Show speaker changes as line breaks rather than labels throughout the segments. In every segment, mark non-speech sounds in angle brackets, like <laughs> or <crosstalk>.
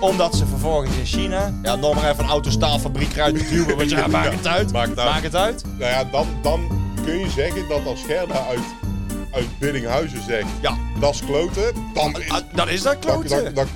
Omdat ze vervolgens in China... Ja, nog maar even een autostaalfabriek eruit duwen. Want <laughs> ja, maak het uit.
maakt het uit.
Maak het uit.
Nou ja, dan, dan kun je zeggen dat als Gerda uit, uit Biddinghuizen zegt,
Ja.
dat is kloten, dan is,
Ah, dan is dat
dan,
kloten.
dan, dan,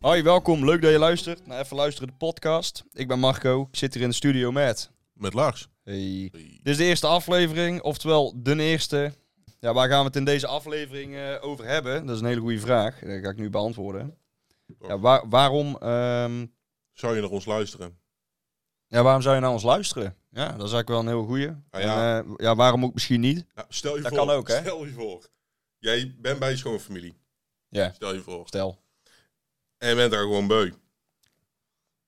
Hoi, welkom. Leuk dat je luistert. Nou, even luisteren de podcast. Ik ben Marco. Ik zit hier in de studio met...
Met Lars.
Hey. Dit is de eerste aflevering, oftewel de eerste. Ja, waar gaan we het in deze aflevering eh, over hebben? Dat is een hele goede vraag. Dat ga ik nu beantwoorden. Ja, waar- waarom, ehm,
zou je naar ons luisteren?
ja, waarom zou je naar ons luisteren? Ja, dat is eigenlijk wel een heel goeie.
Ah, ja.
En, eh, ja, waarom ook misschien niet?
Nou, stel je
Dat
voor,
kan ook, hè?
stel je voor, jij bent bij je schoonfamilie.
Ja.
Stel je voor.
Stel,
En je bent daar gewoon beu.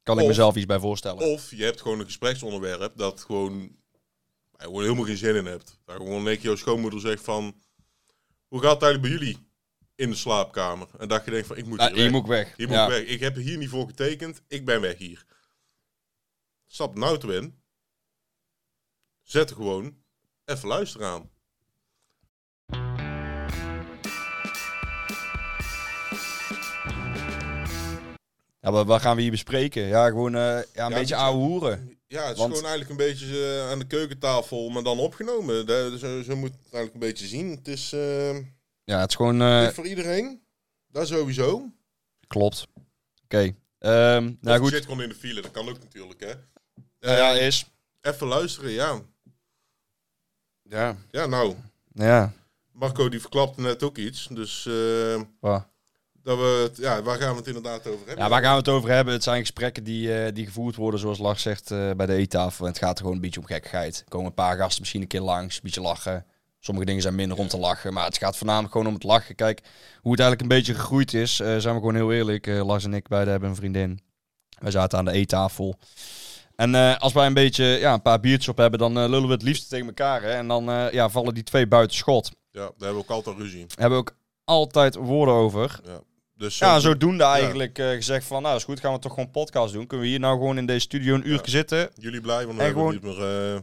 kan ik
Of-
mezelf iets bij voorstellen.
Of je hebt gewoon een gespreksonderwerp dat gewoon, waar je gewoon helemaal geen zin in hebt. Daar gewoon een keer jouw schoonmoeder zegt van, hoe gaat het eigenlijk bij jullie in de slaapkamer? En dat je denkt van, ik moet
Ja,
hier
hier
weg.
moet ik weg.
Hier moet
ja.
ik weg. Ik heb hier niet voor getekend. Ik ben weg hier. Stap de auto in. Zet er gewoon even luisteren aan.
Ja, maar wat gaan we hier bespreken? Ja, gewoon eh, ja, een
Ja,
beetje
dat-
ouwe hoeren.
Ja, het is
Want-
gewoon eigenlijk een beetje eh, aan de keukentafel, maar dan opgenomen. Da- zo, zo moet je het eigenlijk een beetje zien. Het is eh,
Ja, het is gewoon... eh,
niet voor iedereen. Dat sowieso.
klopt. Oké. Ehm
Ja,
nou goed.
Zit gewoon in de file, dat kan ook natuurlijk. Hè.
Ja,
eh,
ja, is...
Even luisteren, ja.
Ja.
Ja, nou,
Ja.
Marco die verklapte net ook iets. Dus eh,
Waar?
dat we het, ja, waar gaan we het inderdaad over hebben?
Ja, waar gaan we het over hebben? Het zijn gesprekken die, eh, die gevoerd worden, zoals Lars zegt, eh, bij de eettafel. En het gaat er gewoon een beetje om gekkigheid. Er komen een paar gasten misschien een keer langs, een beetje lachen. Sommige dingen zijn minder om te lachen, maar het gaat voornamelijk gewoon om het lachen. Kijk, hoe het eigenlijk een beetje gegroeid is, eh, zijn we gewoon heel eerlijk. Eh, Lars en ik, beide hebben een vriendin. Wij zaten aan de eettafel. En eh, als wij een beetje, ja, een paar biertjes op hebben, dan eh, lullen we het liefst tegen elkaar. Hè? En dan eh, ja, vallen die twee buiten schot.
Ja, daar hebben we ook altijd ruzie.
Daar hebben we ook altijd woorden over.
Dus
Ja, zodoende eigenlijk eh, gezegd van, nou is goed, gaan we toch gewoon podcast doen. Kunnen we hier nou gewoon in deze studio een uurtje zitten?
Jullie blij, want
En
dan hebben we
gewoon-
niet meer... eh,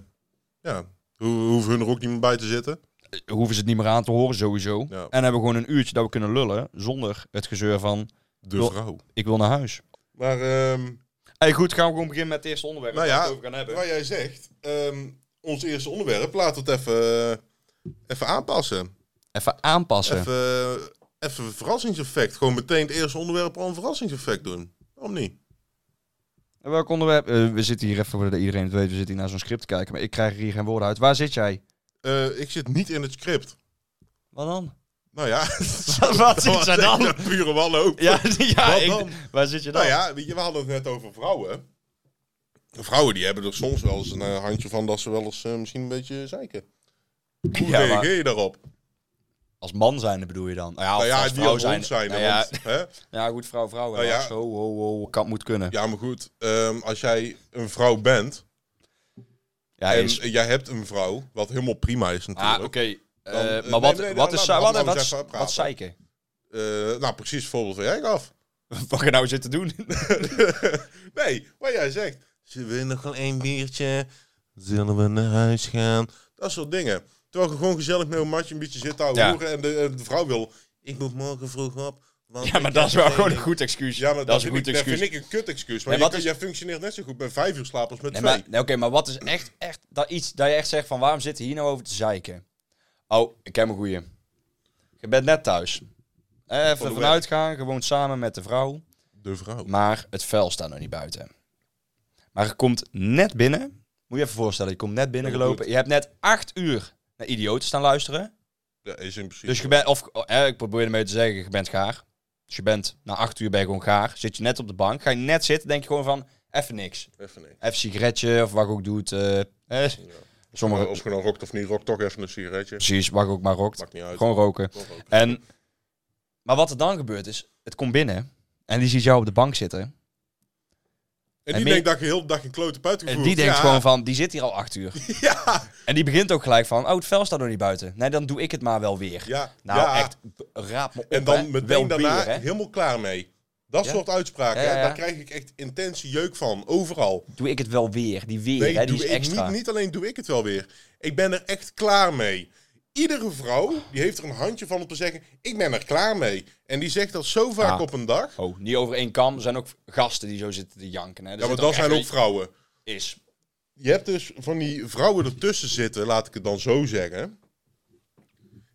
ja, hoe hoeven hun er ook niet meer bij te zitten.
Eh, Hoeven ze het niet meer aan te horen, sowieso.
Ja.
En hebben we gewoon een uurtje dat we kunnen lullen, zonder het gezeur van,
De
Wel-
vrouw.
ik wil naar huis.
Maar ehm,
Dus Hey, goed, gaan we gewoon beginnen met het eerste onderwerp
Nou
waar we
ja,
het over gaan hebben.
waar jij zegt, ehm, ons eerste onderwerp, laten we het even, eh, even aanpassen.
Even aanpassen.
Even, eh, even een verrassingseffect. Gewoon meteen het eerste onderwerp al een verrassingseffect doen. Waarom niet?
En Welk onderwerp? eh, we zitten hier even, voordat iedereen het weet, we zitten hier naar zo'n script te kijken, maar ik krijg er hier geen woorden uit. Waar zit jij?
Eh, ik zit niet in het script.
Wat dan?
Nou ja,
Wat
<laughs>
zit
was
jij
echt
dan?
een Pure wanhoop.
Ja, <laughs> ja
Wat
ik-
dan?
waar zit je dan?
Nou ja, weet je, we hadden het net over vrouwen. Vrouwen die hebben er soms wel eens een eh, handje van dat ze wel eens eh, misschien een beetje zeiken. Hoe
Ja, maar-
reageer je daarop?
Als man zijnde bedoel je dan? Nou ja,
Nou
of
ja,
als
die
vrouw
als
zijnde.
hond zijn.
Nou
ja.
ja,
Want, hè?
ja, goed, vrouw, vrouw.
Nou ja.
ja. Ho, ho, ho, kant moet kunnen.
ja, maar goed. ehm, als jij een vrouw bent
Ja,
en
is.
jij hebt een vrouw, wat helemaal prima is
Ah,
natuurlijk.
oké. Eh,
Dan, eh, nee,
maar wat,
nee, nee,
wat
laat-
is
laat-
wat,
laat
wat,
ons
wat,
even
wat,
praten.
zeiken? <laughs>
Eh, nou, precies het voorbeeld van jij gaf.
Wat je nou zit te
<laughs>
doen?
nee, wat jij zegt. Ze willen nog wel één biertje. Zullen we naar huis gaan? Dat soort dingen. Terwijl je gewoon gezellig met een matje een beetje zit te
Ja.
horen. En de, en de vrouw wil... Ik moet morgen vroeg op. want
ja, maar
ik
dat
heb
is wel gewoon
een
een
mening."
goed excuus.
Ja, maar dat,
dat is een
vind,
goed
ik, dat
excuus.
vind ik een kut excuus. Maar
Nee,
je
wat
kunt-
is-
jij functioneert net zo goed met vijf uur slaap als met
Nee, maar,
twee.
nee, Oké, maar wat is echt, echt dat iets dat je echt zegt van waarom zit hij hier nou over te zeiken? Oh, ik heb een goeie. Je bent net thuis. Even
werk.
vanuit gaan, gewoon samen met de vrouw.
De vrouw.
Maar het vuil staat nog niet buiten. Maar je komt net binnen. Moet je even voorstellen, je komt net binnengelopen. Je hebt net acht uur naar idioten staan luisteren.
Ja, is in principe.
Dus je bent, of eh, ik probeer ermee te zeggen, je bent gaar. Dus je bent, na acht uur ben je gewoon gaar. Zit je net op de bank, ga je net zitten, denk je gewoon van, even niks.
Even nee.
Even sigaretje, of wat je ook doet. eh, eh, sommige,
Of je nou rokt of niet, rokt toch even een sigaretje.
precies, wat je ook maar rookt.
Maakt niet uit.
Gewoon roken.
Toch ook.
En, maar wat er dan gebeurt is, het komt binnen en die ziet jou op de bank zitten. en
En die
meer-
denkt dat je heel de dag in klote buiten
En
gevoerd.
die denkt
Ja.
gewoon van, die zit hier al acht uur.
<laughs> Ja,
En die begint ook gelijk van, oh het vel staat nog niet buiten. Nee, dan doe ik het maar wel weer.
ja.
Nou
ja.
echt, b- raap me op.
En dan
hè.
meteen
Wel
daarna
bier, hè.
helemaal klaar mee. Dat
Ja.
soort uitspraken,
Ja, ja, ja.
daar krijg ik echt intense jeuk van, overal.
Doe ik het wel weer? Die weer,
Nee,
hè, die
doe
is
ik
extra.
niet, niet alleen doe ik het wel weer. Ik ben er echt klaar mee. Iedere vrouw die heeft er een handje van om te zeggen: Ik ben er klaar mee. En die zegt dat zo vaak
Ja.
op een dag.
Oh, niet over één kam. Er zijn ook gasten die zo zitten te janken. Hè. Er
Ja, maar
zit
dat
echt
zijn ook
een-
vrouwen.
Is.
Je hebt dus van die vrouwen ertussen zitten, laat ik het dan zo zeggen.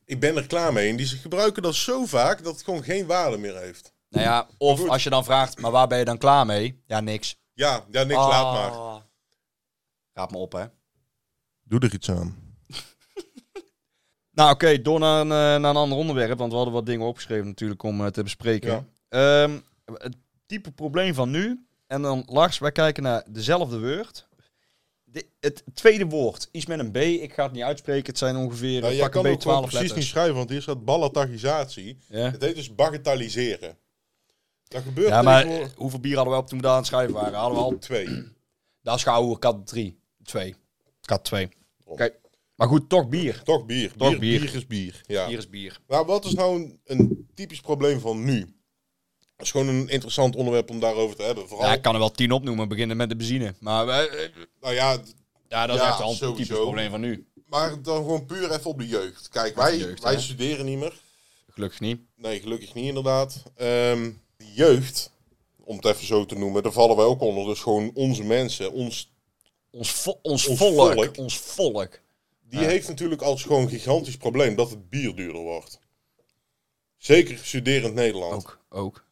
Ik ben er klaar mee. En die ze gebruiken dat zo vaak dat het gewoon geen waarde meer heeft.
Nou ja, of
Goed.
als je dan vraagt, maar waar ben je dan klaar mee? Ja, niks.
Ja, ja niks,
Ah.
laat maar.
Raad me op, hè.
Doe er iets aan.
Nou, oké, door naar een, eh, naar een ander onderwerp. Want we hadden wat dingen opgeschreven natuurlijk om eh, te bespreken. Ehm, het type probleem van nu. En dan Lars, wij kijken naar dezelfde woord. De- het tweede woord, iets met een B. Ik ga het niet uitspreken. Het zijn ongeveer
Nou,
eh,
jij
pak
kan
een
het gewoon
B12
precies niet
letters.
schrijven, want hier staat ballatagisatie.
Ja,
Het heet dus bagatelliseren. Dat gebeurt
ja maar eh,
tegenwoordig-
hoeveel bier hadden we op toen we daar aan het schrijven waren? Hadden we al...
twee.
Dat is gauw kat 3. 2. Kat 2.
Om.
Oké. Maar goed, toch bier.
Toch bier.
Toch
bier,
bier.
bier. is bier. Ja.
Bier is bier.
Maar wat is nou een, een typisch probleem van nu? Dat is gewoon een interessant onderwerp om daarover te hebben. Vooral,
Ja, ik kan er wel 10 opnoemen, beginnen met de benzine. Maar eh, eh,
nou ja, d-
ja, dat is
Ja,
echt al een typisch
sowieso.
probleem van nu.
maar dan gewoon puur even op de jeugd. Kijk, wij,
de jeugd,
wij
hè?
studeren niet meer.
Gelukkig niet.
Nee, gelukkig niet inderdaad. Ehm, de jeugd, om het even zo te noemen, daar vallen wij ook onder. Dus gewoon onze mensen, ons
Ons, vo- ons,
Ons
volk,
volk.
Ons volk.
Die
Ja.
heeft natuurlijk als gewoon een gigantisch probleem dat het bier duurder wordt. Zeker studerend Nederland.
Ook, ook.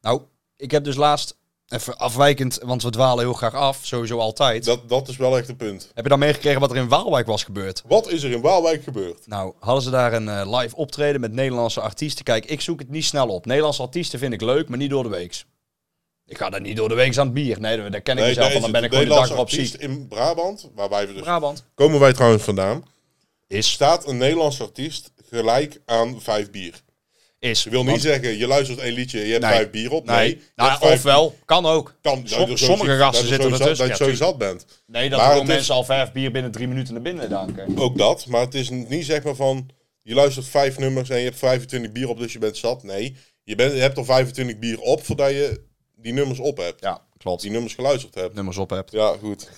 Nou, ik heb dus laatst, even afwijkend, want we dwalen heel graag af, sowieso altijd.
Dat, dat is wel echt een punt.
Heb je dan meegekregen wat er in Waalwijk was gebeurd?
Wat is er in Waalwijk gebeurd?
Nou, hadden ze daar een eh, live optreden met Nederlandse artiesten. Kijk, ik zoek het niet snel op. Nederlandse artiesten vind ik leuk, maar niet door de weeks. Ik ga daar niet door de weeks aan het bier. Nee, daar ken ik mezelf van. Dan ben ik gewoon de dag erop
artiest
ziek.
in Brabant, waar wij dus
Brabant.
komen wij trouwens vandaan,
Is.
staat een Nederlandse artiest gelijk aan vijf bier.
Is.
Ik wil niet zeggen, je luistert één liedje, je hebt
Nee.
vijf bier op. Nee,
Nee.
je
Nou,
hebt vijf-
ofwel. Kan ook.
kan, dat je
som-
er zo
sommige
ziet-
gasten
dat
zitten
zo
er
zat-
tussen,
Dat
ja,
je zo zat bent.
Nee, dat
Maar
gewoon
het is-
mensen al vijf bier binnen drie minuten naar binnen danken.
Ook dat, maar het is niet zeg maar van je luistert vijf nummers en je hebt 25 bier op, dus je bent zat. Nee, je, bent, je hebt al 25 bier op voordat je die nummers op hebt.
Ja, klopt.
Die nummers geluisterd hebt.
Nummers op hebt.
Ja, goed.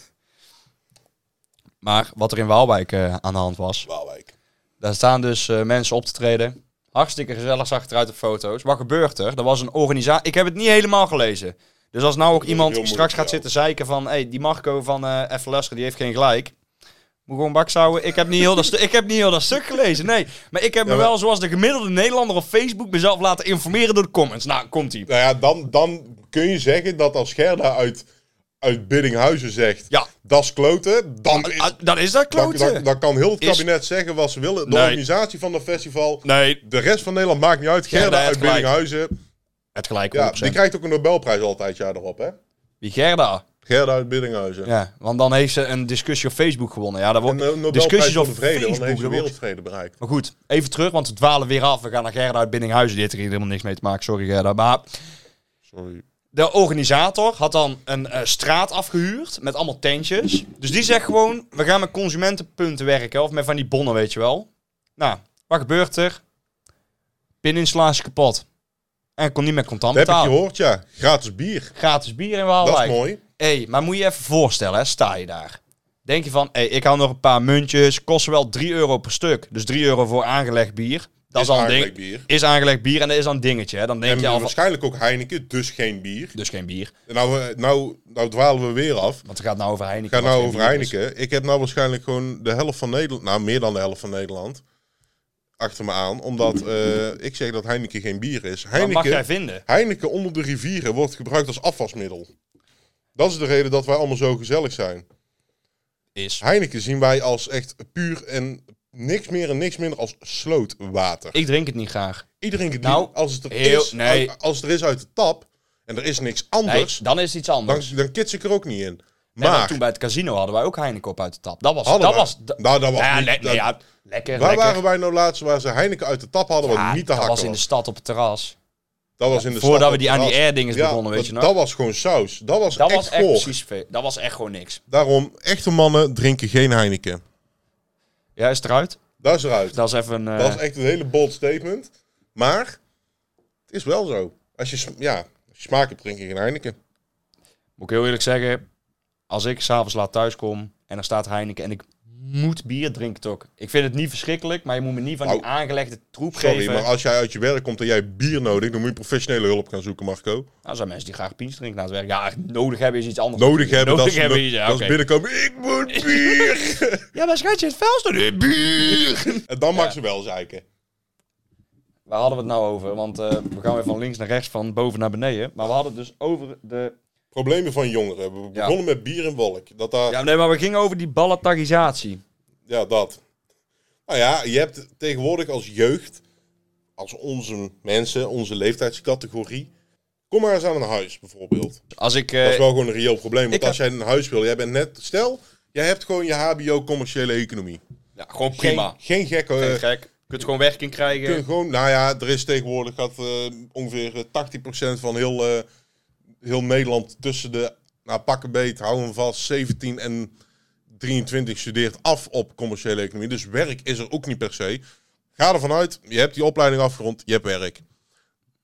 Maar wat er in Waalwijk eh, aan de hand was.
Waalwijk.
Daar staan dus eh, mensen op te treden. Hartstikke gezellig zag het eruit op foto's. Wat gebeurt er? Er was een organisatie. Ik heb het niet helemaal gelezen. Dus als nou ook
is
iemand
heel moeilijk
straks
voor
gaat
jou.
zitten zeiken van... Hé, hey, die Marco van eh even luisteren, die heeft geen gelijk. Moet gewoon bak zouden. Ik heb niet heel dat, stu- ik heb niet heel dat stuk gelezen, nee. Maar ik heb me
maar-
wel, zoals de gemiddelde Nederlander op Facebook... mezelf laten informeren door de comments. Nou, komt-ie.
Nou ja, dan, dan kun je zeggen dat als Gerda uit, uit Biddinghuizen zegt,
Ja.
dat is kloten, dan, is-
Ah, dan is dat
dan,
kloten.
dan, dan kan heel het
Is-
kabinet zeggen wat ze willen. De
Nee.
organisatie van dat festival,
Nee,
de rest van Nederland maakt niet uit. Gerda,
Gerda heeft
uit
gelijk.
Biddinghuizen,
het gelijk
ja,
ja,
die krijgt ook een Nobelprijs altijd het jaar erop, hè?
Die Gerda.
Gerda uit Biddinghuizen.
Ja, want dan heeft ze een discussie op Facebook gewonnen. Ja, daar
En
wordt
de Nobelprijs
discussies
voor
op
de vrede, want
Facebook.
dan heeft ze
daar wordt-
wereldvrede bereikt.
Maar goed, even terug, want we dwalen weer af. We gaan naar Gerda uit Biddinghuizen. Dit heeft er helemaal niks mee te maken, sorry Gerda. Maar
Sorry.
de organisator had dan een eh, straat afgehuurd met allemaal tentjes. Dus die zegt gewoon, we gaan met consumentenpunten werken. Of met van die bonnen, weet je wel. Nou, wat gebeurt er? Pininslaatje kapot. En kon niet met contant
Dat heb ik
betalen.
gehoord, ja. Gratis bier.
Gratis bier in
Dat is
Waalwijk.
mooi.
Hé, maar moet je even voorstellen, hè, sta je daar. Denk je van, hé, ik hou nog een paar muntjes, kosten wel 3 euro per stuk. Dus 3 euro voor aangelegd bier. Dat is, al een
aardig
ding.
bier.
Is aangelegd bier en dat is dan een dingetje. Hè. Dan denk
En
je al van,
waarschijnlijk ook Heineken, dus geen bier.
dus geen bier.
En Nou, eh, nou, nou dwalen we weer af.
Want het gaat nou over Heineken.
Ga
wat
nou
geen
over
bier is.
Heineken. Ik heb nou waarschijnlijk gewoon de helft van Nederland, nou meer dan de helft van Nederland, achter me aan. Omdat eh, ik zeg dat Heineken geen bier is.
Wat mag jij
Heineken,
vinden?
Heineken onder de rivieren wordt gebruikt als afwasmiddel. Dat is de reden dat wij allemaal zo gezellig zijn.
Is.
Heineken zien wij als echt puur en niks meer en niks minder als slootwater.
Ik drink het niet graag.
Iedereen gedient
Nou,
als, het er
heel-
is,
nee.
uit- als het er is uit de tap en er is niks
Nee,
anders,
dan is het iets anders.
dan, dan kits ik er ook niet in.
Nee,
Maar,
toen bij het casino hadden wij ook Heineken op uit de tap. Dat was...
hadden
Dat
wij-
was da-
nou, dat was
ja,
niet-
le-
dat-
nee, ja, lekker,
waar
lekker.
waren wij nou laatst waar ze Heineken uit de tap hadden wat
Ja,
niet te
dat
hakken
was
was?
in de stad op het terras.
dat was in de stad
Voordat we
op het
die aan die
terras.
air dinges
Ja,
begonnen, weet
dat,
je nog.
dat was gewoon saus. Dat was
Dat
echt
was echt
goor.
precies... ve- Dat was echt gewoon niks.
Daarom, echte mannen drinken geen Heineken.
Ja, is het eruit?
Dat is eruit.
Dat is even een... eh,
Dat is echt een hele bold statement. Maar het is wel zo. Als je, sm- ja, als smaak hebt, drink je geen Heineken.
Moet ik heel eerlijk zeggen, als ik s'avonds laat thuis kom en er staat Heineken en ik moet bier, drink ik het ook. Ik vind het niet verschrikkelijk, maar je moet me niet van die
Nou,
aangelegde troep
Sorry,
geven.
maar als jij uit je werk komt en jij hebt bier nodig, dan moet je professionele hulp gaan zoeken, Marco.
Nou, er zijn mensen die graag pintjes drinken na het werk. Ja, nodig hebben is iets anders.
Nodig hebben, dat
Nodig
is,
hebben
no-
is- ja,
dat is
oké.
binnenkomen. Ik
<laughs>
moet bier!
Ja, maar schatje, het vuilste. Nee, bier!
en dan mag ze wel zeiken.
Waar hadden we het nou over? Want eh, we gaan weer van links naar rechts, van boven naar beneden. Maar we hadden het dus over de...
Problemen van jongeren. We
Ja.
begonnen met bier en wolk. Dat daar, ja.
Ja, nee, maar we gingen over die ballatagisatie.
dat. Nou ja, je hebt tegenwoordig als jeugd, als onze mensen, onze leeftijdscategorie. Kom maar eens aan een huis bijvoorbeeld.
Als ik... eh,
Dat is wel gewoon een reëel probleem. Want
ik
als jij een huis wil, jij bent net, stel, jij hebt gewoon je HBO commerciële economie.
ja, gewoon
Geen-
prima.
Geen, gekke.
Geen
eh,
gek. Je kunt gewoon werking krijgen.
kun je gewoon, nou ja, er is tegenwoordig gaat, eh, ongeveer eh, 80% van heel, eh, heel Nederland tussen de, nou pakken beet, hou hem vast, 17 en 23 studeert af op commerciële economie. Dus werk is er ook niet per se. Ga ervan uit, je hebt die opleiding afgerond, je hebt werk.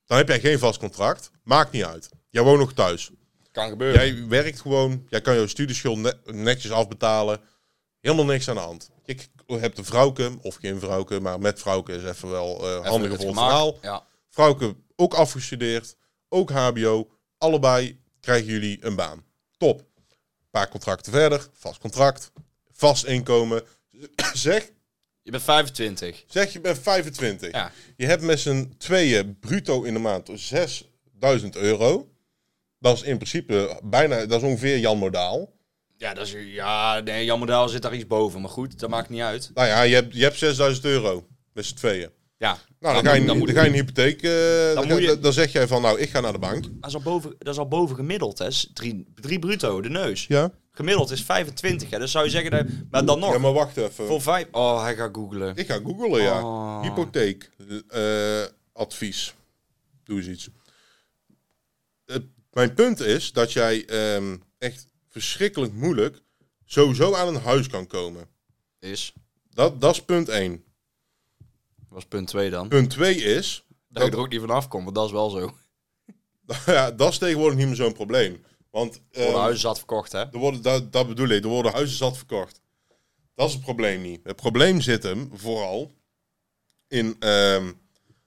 Dan heb jij geen vast contract, maakt niet uit. Jij woont nog thuis.
Kan gebeuren.
Jij werkt gewoon, jij kan jouw studieschuld ne- netjes afbetalen. Helemaal niks aan de hand. Je k- hebt een vrouwke, of geen vrouwke, maar met vrouwke is even wel eh
het
handiger voor het
gemaakt.
verhaal.
Ja.
Vrouwke ook afgestudeerd, ook HBO. Allebei krijgen jullie een baan. Top. Een paar contracten verder, vast contract, vast inkomen. <clears throat> Zeg,
Je bent 25.
zeg je bent 25.
Ja.
Je hebt met z'n tweeën bruto in de maand 6000 euro. Dat is in principe bijna, dat is ongeveer Jan Modaal.
Ja, dat is, ja nee, Jan Modaal zit daar iets boven. Maar goed, dat maakt niet uit.
Nou ja, je hebt, je hebt 6000 euro met z'n tweeën.
Ja,
Nou, dan, ga je,
moet-
dan, ga je een hypotheek. eh, dan,
moet
ga-
je-
dan zeg jij van, nou, ik ga naar de bank.
dat, is al boven, dat is al boven gemiddeld, hè. S- Drie, drie bruto, de neus.
Ja.
Gemiddeld is 25, hè. Dus zou je zeggen, dat, maar dan nog.
Ja, maar wacht even.
Voor vijf... Oh, hij gaat googlen.
Ik ga googlen, ja.
Oh.
Hypotheek. eh, advies. Doe eens iets. Het- mijn punt is dat jij ehm, echt verschrikkelijk moeilijk sowieso aan een huis kan komen.
Is.
Dat, dat is punt 1.
was punt 2 dan.
Punt 2 is <laughs>
Dat ik er ook niet vanaf kom, want dat is wel zo.
Ja, dat is tegenwoordig niet meer zo'n probleem. Want eh,
Voor de huis zat verkocht, hè?
er worden, dat, dat bedoel ik, er worden huizen zat verkocht. Dat is het probleem niet. Het probleem zit hem vooral in ehm,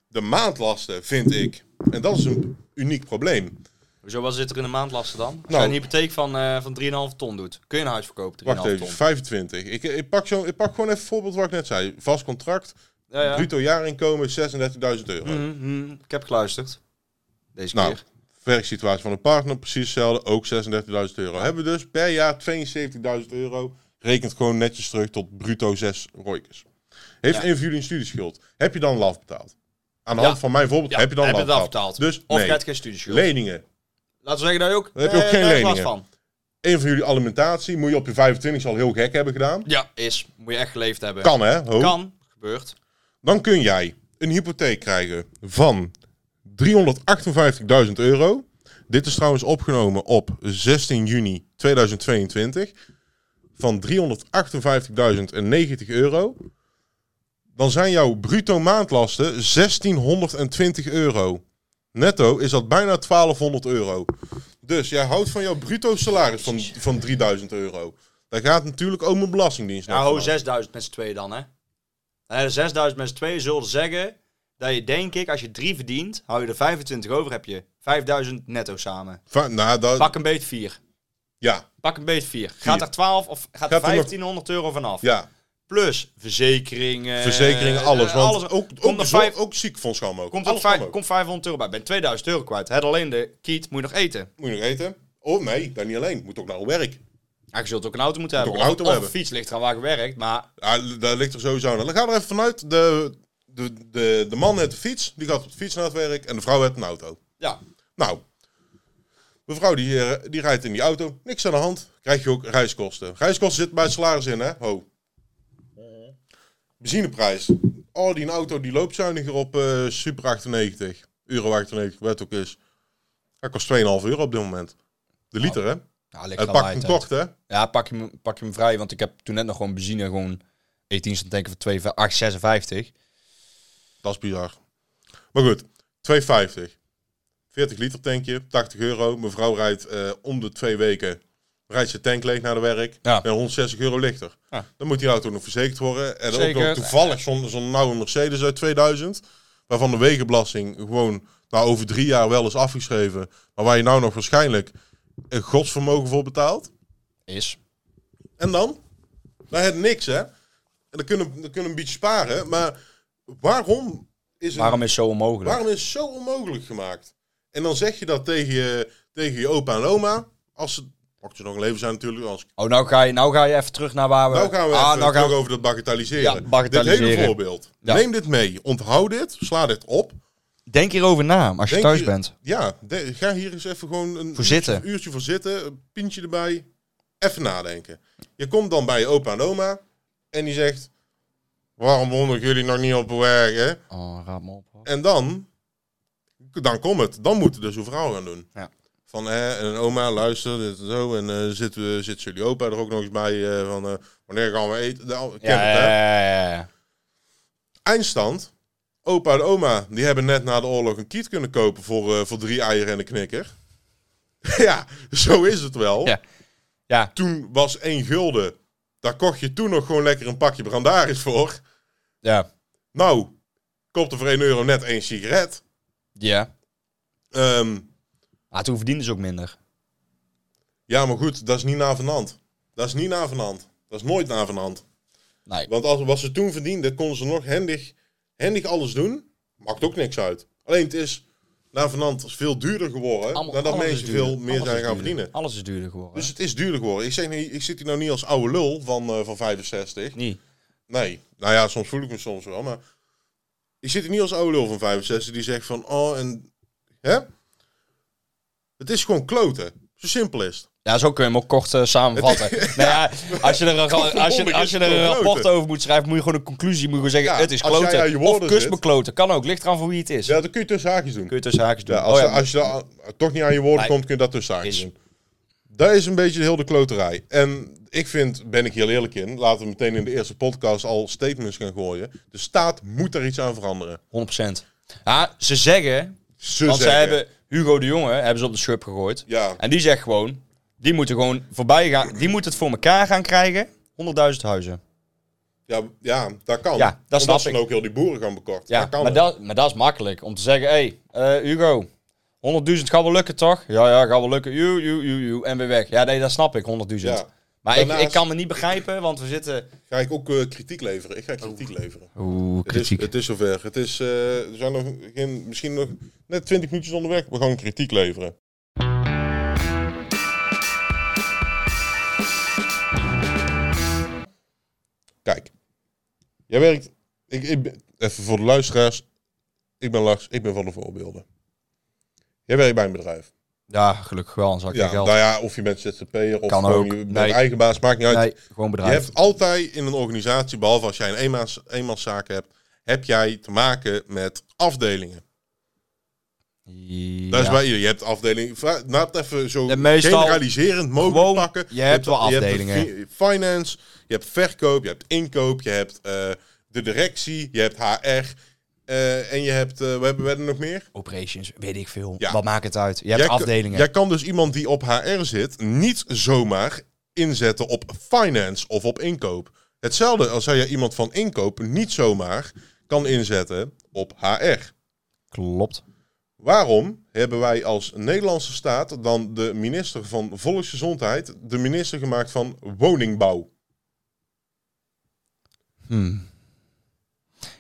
de maandlasten, vind ik. En dat is een uniek probleem.
Hoezo, wat zit er in de maandlasten dan? Als
Nou.
je een hypotheek van, eh van 3,5 ton doet, kun je een huis verkopen, 3,5
Wacht
ton.
even, 25. Ik, ik, pak zo, ik pak gewoon even het voorbeeld wat ik net zei. Vast contract,
Ja, ja.
bruto jaarinkomen 36.000 euro.
Mhm, mhm. Ik heb geluisterd. Deze
Nou,
keer.
werksituatie van een partner, precies hetzelfde, ook 36.000 euro. Hebben we dus per jaar 72.000 euro. Rekent gewoon netjes terug tot bruto 6 roikers. Heeft
Ja.
een van jullie een studieschuld? Heb je dan laf betaald? Aan de
Ja.
hand van mijn voorbeeld,
Ja,
heb je dan
heb
laf
je het
betaald?
afbetaald?
Dus
Of
nee.
je hebt geen studieschuld.
leningen.
Laten we zeggen dat je ook...
Dan heb je ook
eh,
geen
daar is last
leningen.
van.
Een van jullie alimentatie moet je op je 25 al heel gek hebben gedaan.
Ja, is. Moet je echt geleefd hebben.
Kan hè? Ho.
Kan. Gebeurt.
Dan kun jij een hypotheek krijgen van 358.000 euro. Dit is trouwens opgenomen op 16 juni 2022. Van 358.090 euro. Dan zijn jouw bruto maandlasten 1620 euro. Netto is dat bijna 1200 euro. Dus jij houdt van jouw bruto salaris van, van 3000 euro. Daar gaat natuurlijk ook mijn belastingdienst
Ja, Nou, ho,
vanaf.
6000 met z'n tweeën dan, hè? Dan heb je 6000 met z'n tweeën zullen zeggen dat je, denk ik, als je 3 verdient, hou je er 25 over, heb je 5000 netto samen.
Va- nou, dat,
Pak een beet 4.
ja,
Pak een beet 4. Gaat
Vier.
er 12 of gaat
er
er
nog-
1500 euro vanaf?
ja.
Plus verzekeringen.
Verzekeringen, alles.
eh,
Want
alles.
ook,
komt
ook,
er
zo-
vijf-
ook ziekfonds gaan ook.
Komt er
Alles
vijf-
kan ook.
komt 500 euro bij. Ben 2000 euro kwijt. Het alleen de kiet moet je nog eten.
Moet je nog eten? Oh nee, dat niet alleen. Moet ook naar werk.
Ja, je zult ook een auto moeten hebben.
ook een auto
of,
hebben.
Of een fiets ligt eraan waar je werkt. Maar
Ja, Ah, daar ligt er sowieso aan. Dan gaan we er even vanuit. De, de, de, de man heeft de fiets. Die gaat op de fiets naar het werk. En de vrouw heeft een auto.
ja,
Nou, mevrouw die, eh, die rijdt in die auto. Niks aan de hand. Krijg je ook reiskosten. Reiskosten zitten bij het salaris in, hè? Ho. Benzineprijs. Oh, die een auto die loopt zuiniger op eh, super 98. Euro 98, wat het ook is. Dat kost 2,5 euro op dit moment. De
Oh,
liter, hè?
ja ligt
Het
er
pak
wel
hem
uit, hè.
kort, hè?
Ja, pak je, hem- pak je hem vrij, want ik heb toen net nog gewoon benzine gewoon 18 cent tanken voor 2 8,56.
Dat is bizar. Maar goed, 2,50. 40 liter tankje, 80 euro. Mevrouw rijdt eh, om de twee weken rijdt zijn tank leeg naar de werk.
Ja.
En 160 euro lichter.
Ja.
Dan moet die auto nog verzekerd worden. En dan ook
Zeker.
nog toevallig zo'n zo'n nauwe Mercedes uit 2000. Waarvan de wegenbelasting gewoon nou, over drie jaar wel is afgeschreven. Maar waar je nou nog waarschijnlijk een godsvermogen voor betaalt.
Is.
En dan? Nou, het niks, hè? En dan kunnen we dan kunnen we een beetje sparen. Maar waarom is het
Waarom is zo onmogelijk?
Waarom is het zo onmogelijk gemaakt? En dan zeg je dat tegen je, tegen je opa en oma. Als ze, mocht ze nog in leven zijn natuurlijk. Als,
Oh, nou ga, je, nou ga je even terug naar waar we...
nou gaan we
Ah,
even
nou
terug
gaan we-
over dat bagatelliseren.
Ja, bagatelliseren.
Dit hele voorbeeld.
Ja.
Neem dit mee. Onthoud dit. Sla dit op.
Denk hierover na, als je
Denk
thuis
hier-
bent.
Ja, de- ga hier eens even gewoon een
Voor zitten.
Uurtje, uurtje voor zitten. Een pintje erbij. Even nadenken. Je komt dan bij je opa en oma. En die zegt... Waarom wonen jullie nog niet op de weg, hè?
Oh, raad me op. hoor.
En dan, dan komt het. Dan moeten dus uw vrouw gaan doen.
Ja.
Van, hè, en oma, luister, dit en zo. En eh zit, eh, zit jullie opa er ook nog eens bij? eh, van, eh, wanneer gaan we eten? Nou, ken
Ja,
het, hè?
ja, ja, ja.
Eindstand. Opa en oma, die hebben net na de oorlog een kiet kunnen kopen voor, eh, voor drie eieren en een knikker. <laughs> ja, zo is het wel.
Ja. Ja.
Toen was één gulden. Daar kocht je toen nog gewoon lekker een pakje brandaris voor.
Ja.
Nou, kopte voor 1 euro net één sigaret.
Ja.
Ehm
Maar toen verdienden ze ook minder.
Ja, maar goed, dat is niet na van hand. Dat is niet na van hand. Dat is nooit na van hand.
Nee.
Want als, wat ze toen verdienden, konden ze nog handig, handig alles doen. Maakt ook niks uit. Alleen het is na van hand is veel duurder geworden.
Allemaal-
nadat
alles is
mensen
duurder.
veel meer
Alles is
zijn gaan
duurder.
verdienen.
Alles is duurder geworden.
Dus het is duurder geworden. Ik, zeg niet, ik zit hier nou niet als oude lul van, eh, van 65.
niet.
Nee. Nou ja, soms voel ik me soms wel, maar... Ik zit hier niet als oude lul van 65 die zegt van... Oh, en... Hè? Het is gewoon kloten. Zo simpel is het.
Ja, zo kun je hem ook kort eh,
<laughs>
samenvatten. nou ja, als je er een, ra- als je, als je er een rapport over moet schrijven, moet je gewoon een conclusie moet je gewoon zeggen,
Ja,
het is
als jij aan je
kloten. Of
woorden
kus
zit.
me kloten. Kan ook, ligt eraan voor wie het is.
Ja, dat kun je tussen haakjes doen.
Kun je tussen haakjes doen.
Ja, als,
oh,
je- als je daar toch niet aan je woorden
Nee.
komt, kun je dat tussen haakjes
Is-
doen. Dat is een beetje heel de kloterij. En ik vind, ben ik heel eerlijk in, laten we meteen in de eerste podcast al statements gaan gooien. De staat moet daar iets aan veranderen.
100%. Ja, ze zeggen,
Ze
want ze
zeggen-
hebben Hugo de Jonge hebben ze op de schub gegooid.
Ja,
En die zegt gewoon, die moeten gewoon voorbij gaan. Die moeten het voor elkaar gaan krijgen. 100.000 huizen.
ja, ja, dat kan.
Ja, dat
Omdat
snap
ze
ik.
dan ook heel die boeren gaan bekorten.
Ja,
dat kan
maar,
ook.
dat, maar dat is makkelijk. Om te zeggen, hé, hey, eh, Hugo, 100.000 gaat wel lukken, toch? Ja, ja, gaat wel lukken. Joe, joe, joe, joe. En weer weg. Ja, nee, dat snap ik, 100.000.
Ja.
Maar ik,
Daarnaast-
ik kan me niet begrijpen, want we zitten...
Ga ik ook eh, kritiek leveren? Ik ga kritiek
Oh.
leveren.
Oeh,
Het is, het is zover. Het is, eh, er zijn nog geen, misschien nog net 20 minuutjes onderweg. We gaan kritiek leveren. Kijk, jij werkt. Ik, ik, ben- even voor de luisteraars. Ik ben Lars, ik ben van de voorbeelden. Jij werkt bij een bedrijf.
Ja, gelukkig wel, een zakje
ja,
geld.
nou ja, of je bent ZZP'er of
Kan
gewoon
ook.
je bent
Nee.
eigen baas, maakt niet uit.
Nee, gewoon bedrijf.
Je hebt altijd in een organisatie, behalve als jij een eenmaals, eenmanszaak hebt, heb jij te maken met afdelingen.
Ja.
Dat is bij ieder. Je hebt afdelingen. va- Laat het even zo
En meestal
generaliserend mogelijk
gewoon,
pakken.
je hebt wel
je
afdelingen.
de fi- finance, je hebt verkoop, je hebt inkoop, je hebt eh, de directie, je hebt HR. eh, en je hebt, eh, we hebben we hebben nog meer.
Operations, weet ik veel.
Ja.
Wat maakt het uit? Je hebt
Jij kan-
afdelingen.
Jij kan dus iemand die op HR zit niet zomaar inzetten op finance of op inkoop. Hetzelfde als jij iemand van inkoop niet zomaar kan inzetten op HR.
Klopt.
Waarom hebben wij als Nederlandse staat dan de minister van Volksgezondheid de minister gemaakt van woningbouw?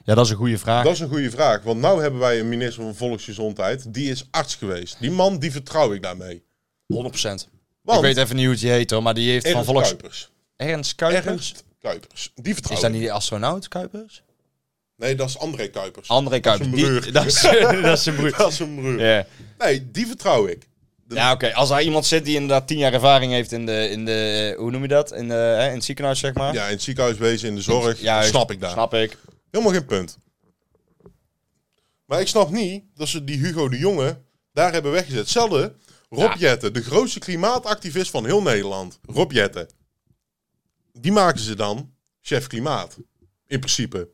Ja, dat is een goede vraag.
Dat is een goede vraag, want nu hebben wij een minister van Volksgezondheid, die is arts geweest. Die man, die vertrouw ik daarmee.
100%.
Want
ik weet even niet hoe het heet hoor, maar die heeft van
Ernst
volks...
Kuipers.
Ernst Kuipers?
Ernst Kuipers. Die vertrouw
Is
ik.
dat niet de astronaut Kuipers?
Nee, dat is André Kuipers.
André
is
Kuipers.
een
die- <laughs>
broer.
Dat is, dat is zijn
<laughs>
broer.
dat is een broer.
Ja.
Nee, die vertrouw ik.
Ja, oké. Als daar iemand zit die inderdaad tien jaar ervaring heeft in de, in de hoe noem je dat? In, de, hè, in het ziekenhuis, zeg maar.
Ja, in het ziekenhuiswezen, in de zorg,
Juist.
snap ik daar.
Snap ik.
Helemaal geen punt. Maar ik snap niet dat ze die Hugo de Jonge daar hebben weggezet. Hetzelfde Rob
Ja.
Jetten, de grootste klimaatactivist van heel Nederland. Rob Jetten. Die maken ze dan chef klimaat. In principe.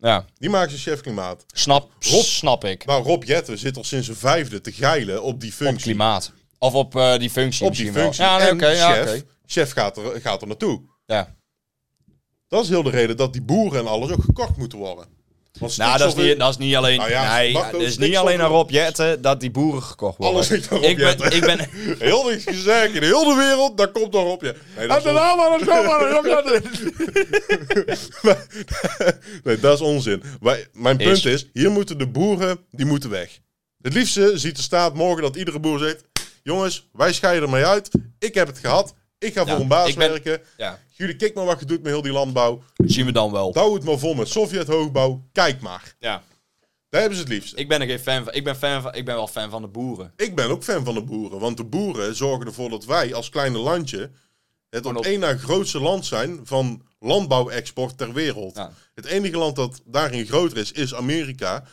Ja,
Die maken zijn chef klimaat.
snap,
Rob.
snap ik.
Nou, Rob Jetten zit al sinds zijn vijfde te geilen op die
Op
functie.
klimaat. Of op eh, die functie
Op die
misschien
functie.
wel. Ja, nee,
en
oké. ja,
chef,
oké.
chef gaat, er, gaat er naartoe.
ja.
Dat is heel de reden dat die boeren en alles ook gekort moeten worden. Want
Nou, dat is,
stikstof-
niet, dat is niet alleen...
Nou ja,
nee,
mag
het
wel
is niet
stikstof-
alleen aan Rob Jetten dat die boeren gekocht worden.
Alles ligt aan Rob
Oh, ik ben,
Jetten.
ik ben,
<laughs> Heel niks gezegd in heel de wereld, daar komt dan op je. Nee, dat, is on-
maar dat
nee, dat is onzin. Wij- mijn punt
Is-
is. hier moeten de boeren, die moeten weg. Het liefste ziet de staat morgen dat iedere boer zegt... Jongens, wij scheiden ermee uit. Ik heb het gehad. Ik ga voor een baas
ik ben-
werken.
<laughs> Ja,
Jullie, kijk maar wat je doet met heel die landbouw.
zien we dan wel.
Douw het maar vol met Sovjet-hoogbouw. Kijk maar.
Ja.
Daar hebben ze het liefst.
Ik ben er geen fan van. Ik ben, fan van. ik ben wel fan van de boeren.
Ik ben ook fan van de boeren, want de boeren zorgen ervoor dat wij als kleine landje het
Gewoon
op
op-
één na grootste land zijn van landbouwexport ter wereld.
Ja.
Het enige land dat daarin groter is, is Amerika.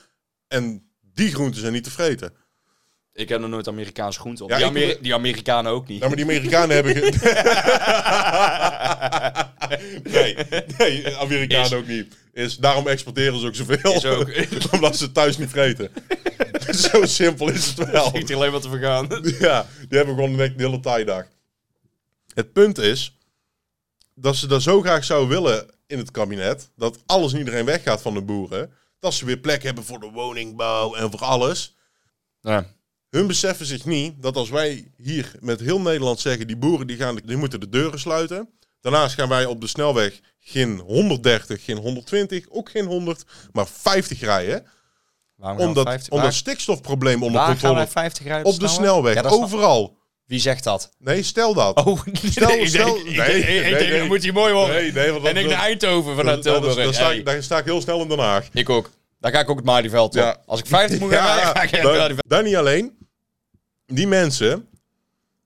En die groenten zijn niet te vreten.
Ik heb nog nooit Amerikaanse groenten op.
Ja,
die,
ik-
Ameri- die Amerikanen ook niet.
Ja, Nou, maar die Amerikanen
<laughs>
hebben... ge- nee, nee, Amerikanen
Is-
ook niet. Is, daarom exporteren ze ook zoveel.
<laughs> Is ook.
<laughs> omdat ze het thuis niet
<laughs>
vreten. Zo simpel is het wel.
Schiet hier alleen wat te vergaan.
<laughs> Ja, die hebben gewoon de hele tijdag. Het punt is dat ze dat zo graag zouden willen in het kabinet, dat alles en iedereen weggaat van de boeren, dat ze weer plek hebben voor de woningbouw en voor alles.
Ja.
Hun beseffen zich niet dat als wij hier met heel Nederland zeggen, die boeren die gaan, die moeten de deuren sluiten. Daarnaast gaan wij op de snelweg geen 130, geen 120, ook geen 100, maar 50 rijden.
Waarom gaan we
Om dat,
50
om
waar-
dat stikstofprobleem onder
waar gaan
controle.
wij 50 rijden?
Op de snelweg,
Ja, dat is-
overal.
Wie zegt dat?
Nee, stel dat.
Oh,
Stel-
nee,
stel-
ik denk- ik
nee,
denk- ik
nee,
denk,
nee.
dat moet hij mooi worden.
Nee, nee, want dat-
en ik
dat-
naar Eindhoven vanuit
Dat- dat-
Tilburg.
dat- daar sta
Hey,
ik- Daar sta ik heel snel in Den Haag.
Ik ook. Daar ga ik ook het Malieveld op.
<laughs> Ja.
Als ik 50 moet gaan rijden, ga ik echt
daar-
Malieveld.
daar niet alleen. Die mensen,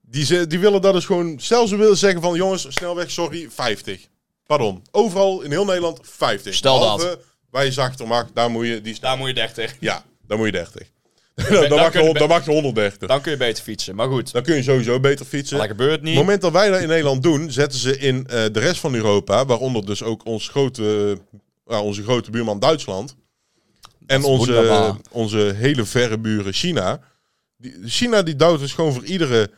die, ze, die willen dat dus gewoon... Zelfs ze willen zeggen van, jongens, snelweg, sorry, 50. Pardon. Overal in heel Nederland 50.
Stel dat.
Behalve Waar je zachter mag, daar moet je... Die snel-
Daar moet je 30.
ja, daar moet je 30. <laughs> dan,
dan
mag je,
kun je
hon-
be-
dan mag je 130. Dan,
Dan kun je beter fietsen. Maar goed,
kun je sowieso beter fietsen.
dat gebeurt niet.
Op het moment dat wij dat in Nederland doen, zetten ze in eh, de rest van Europa, waaronder dus ook ons grote, eh, ja, onze grote buurman Duitsland. En onze,
wonderbaar.
onze hele verre buren China. Die, China die duwt dus gewoon voor iedere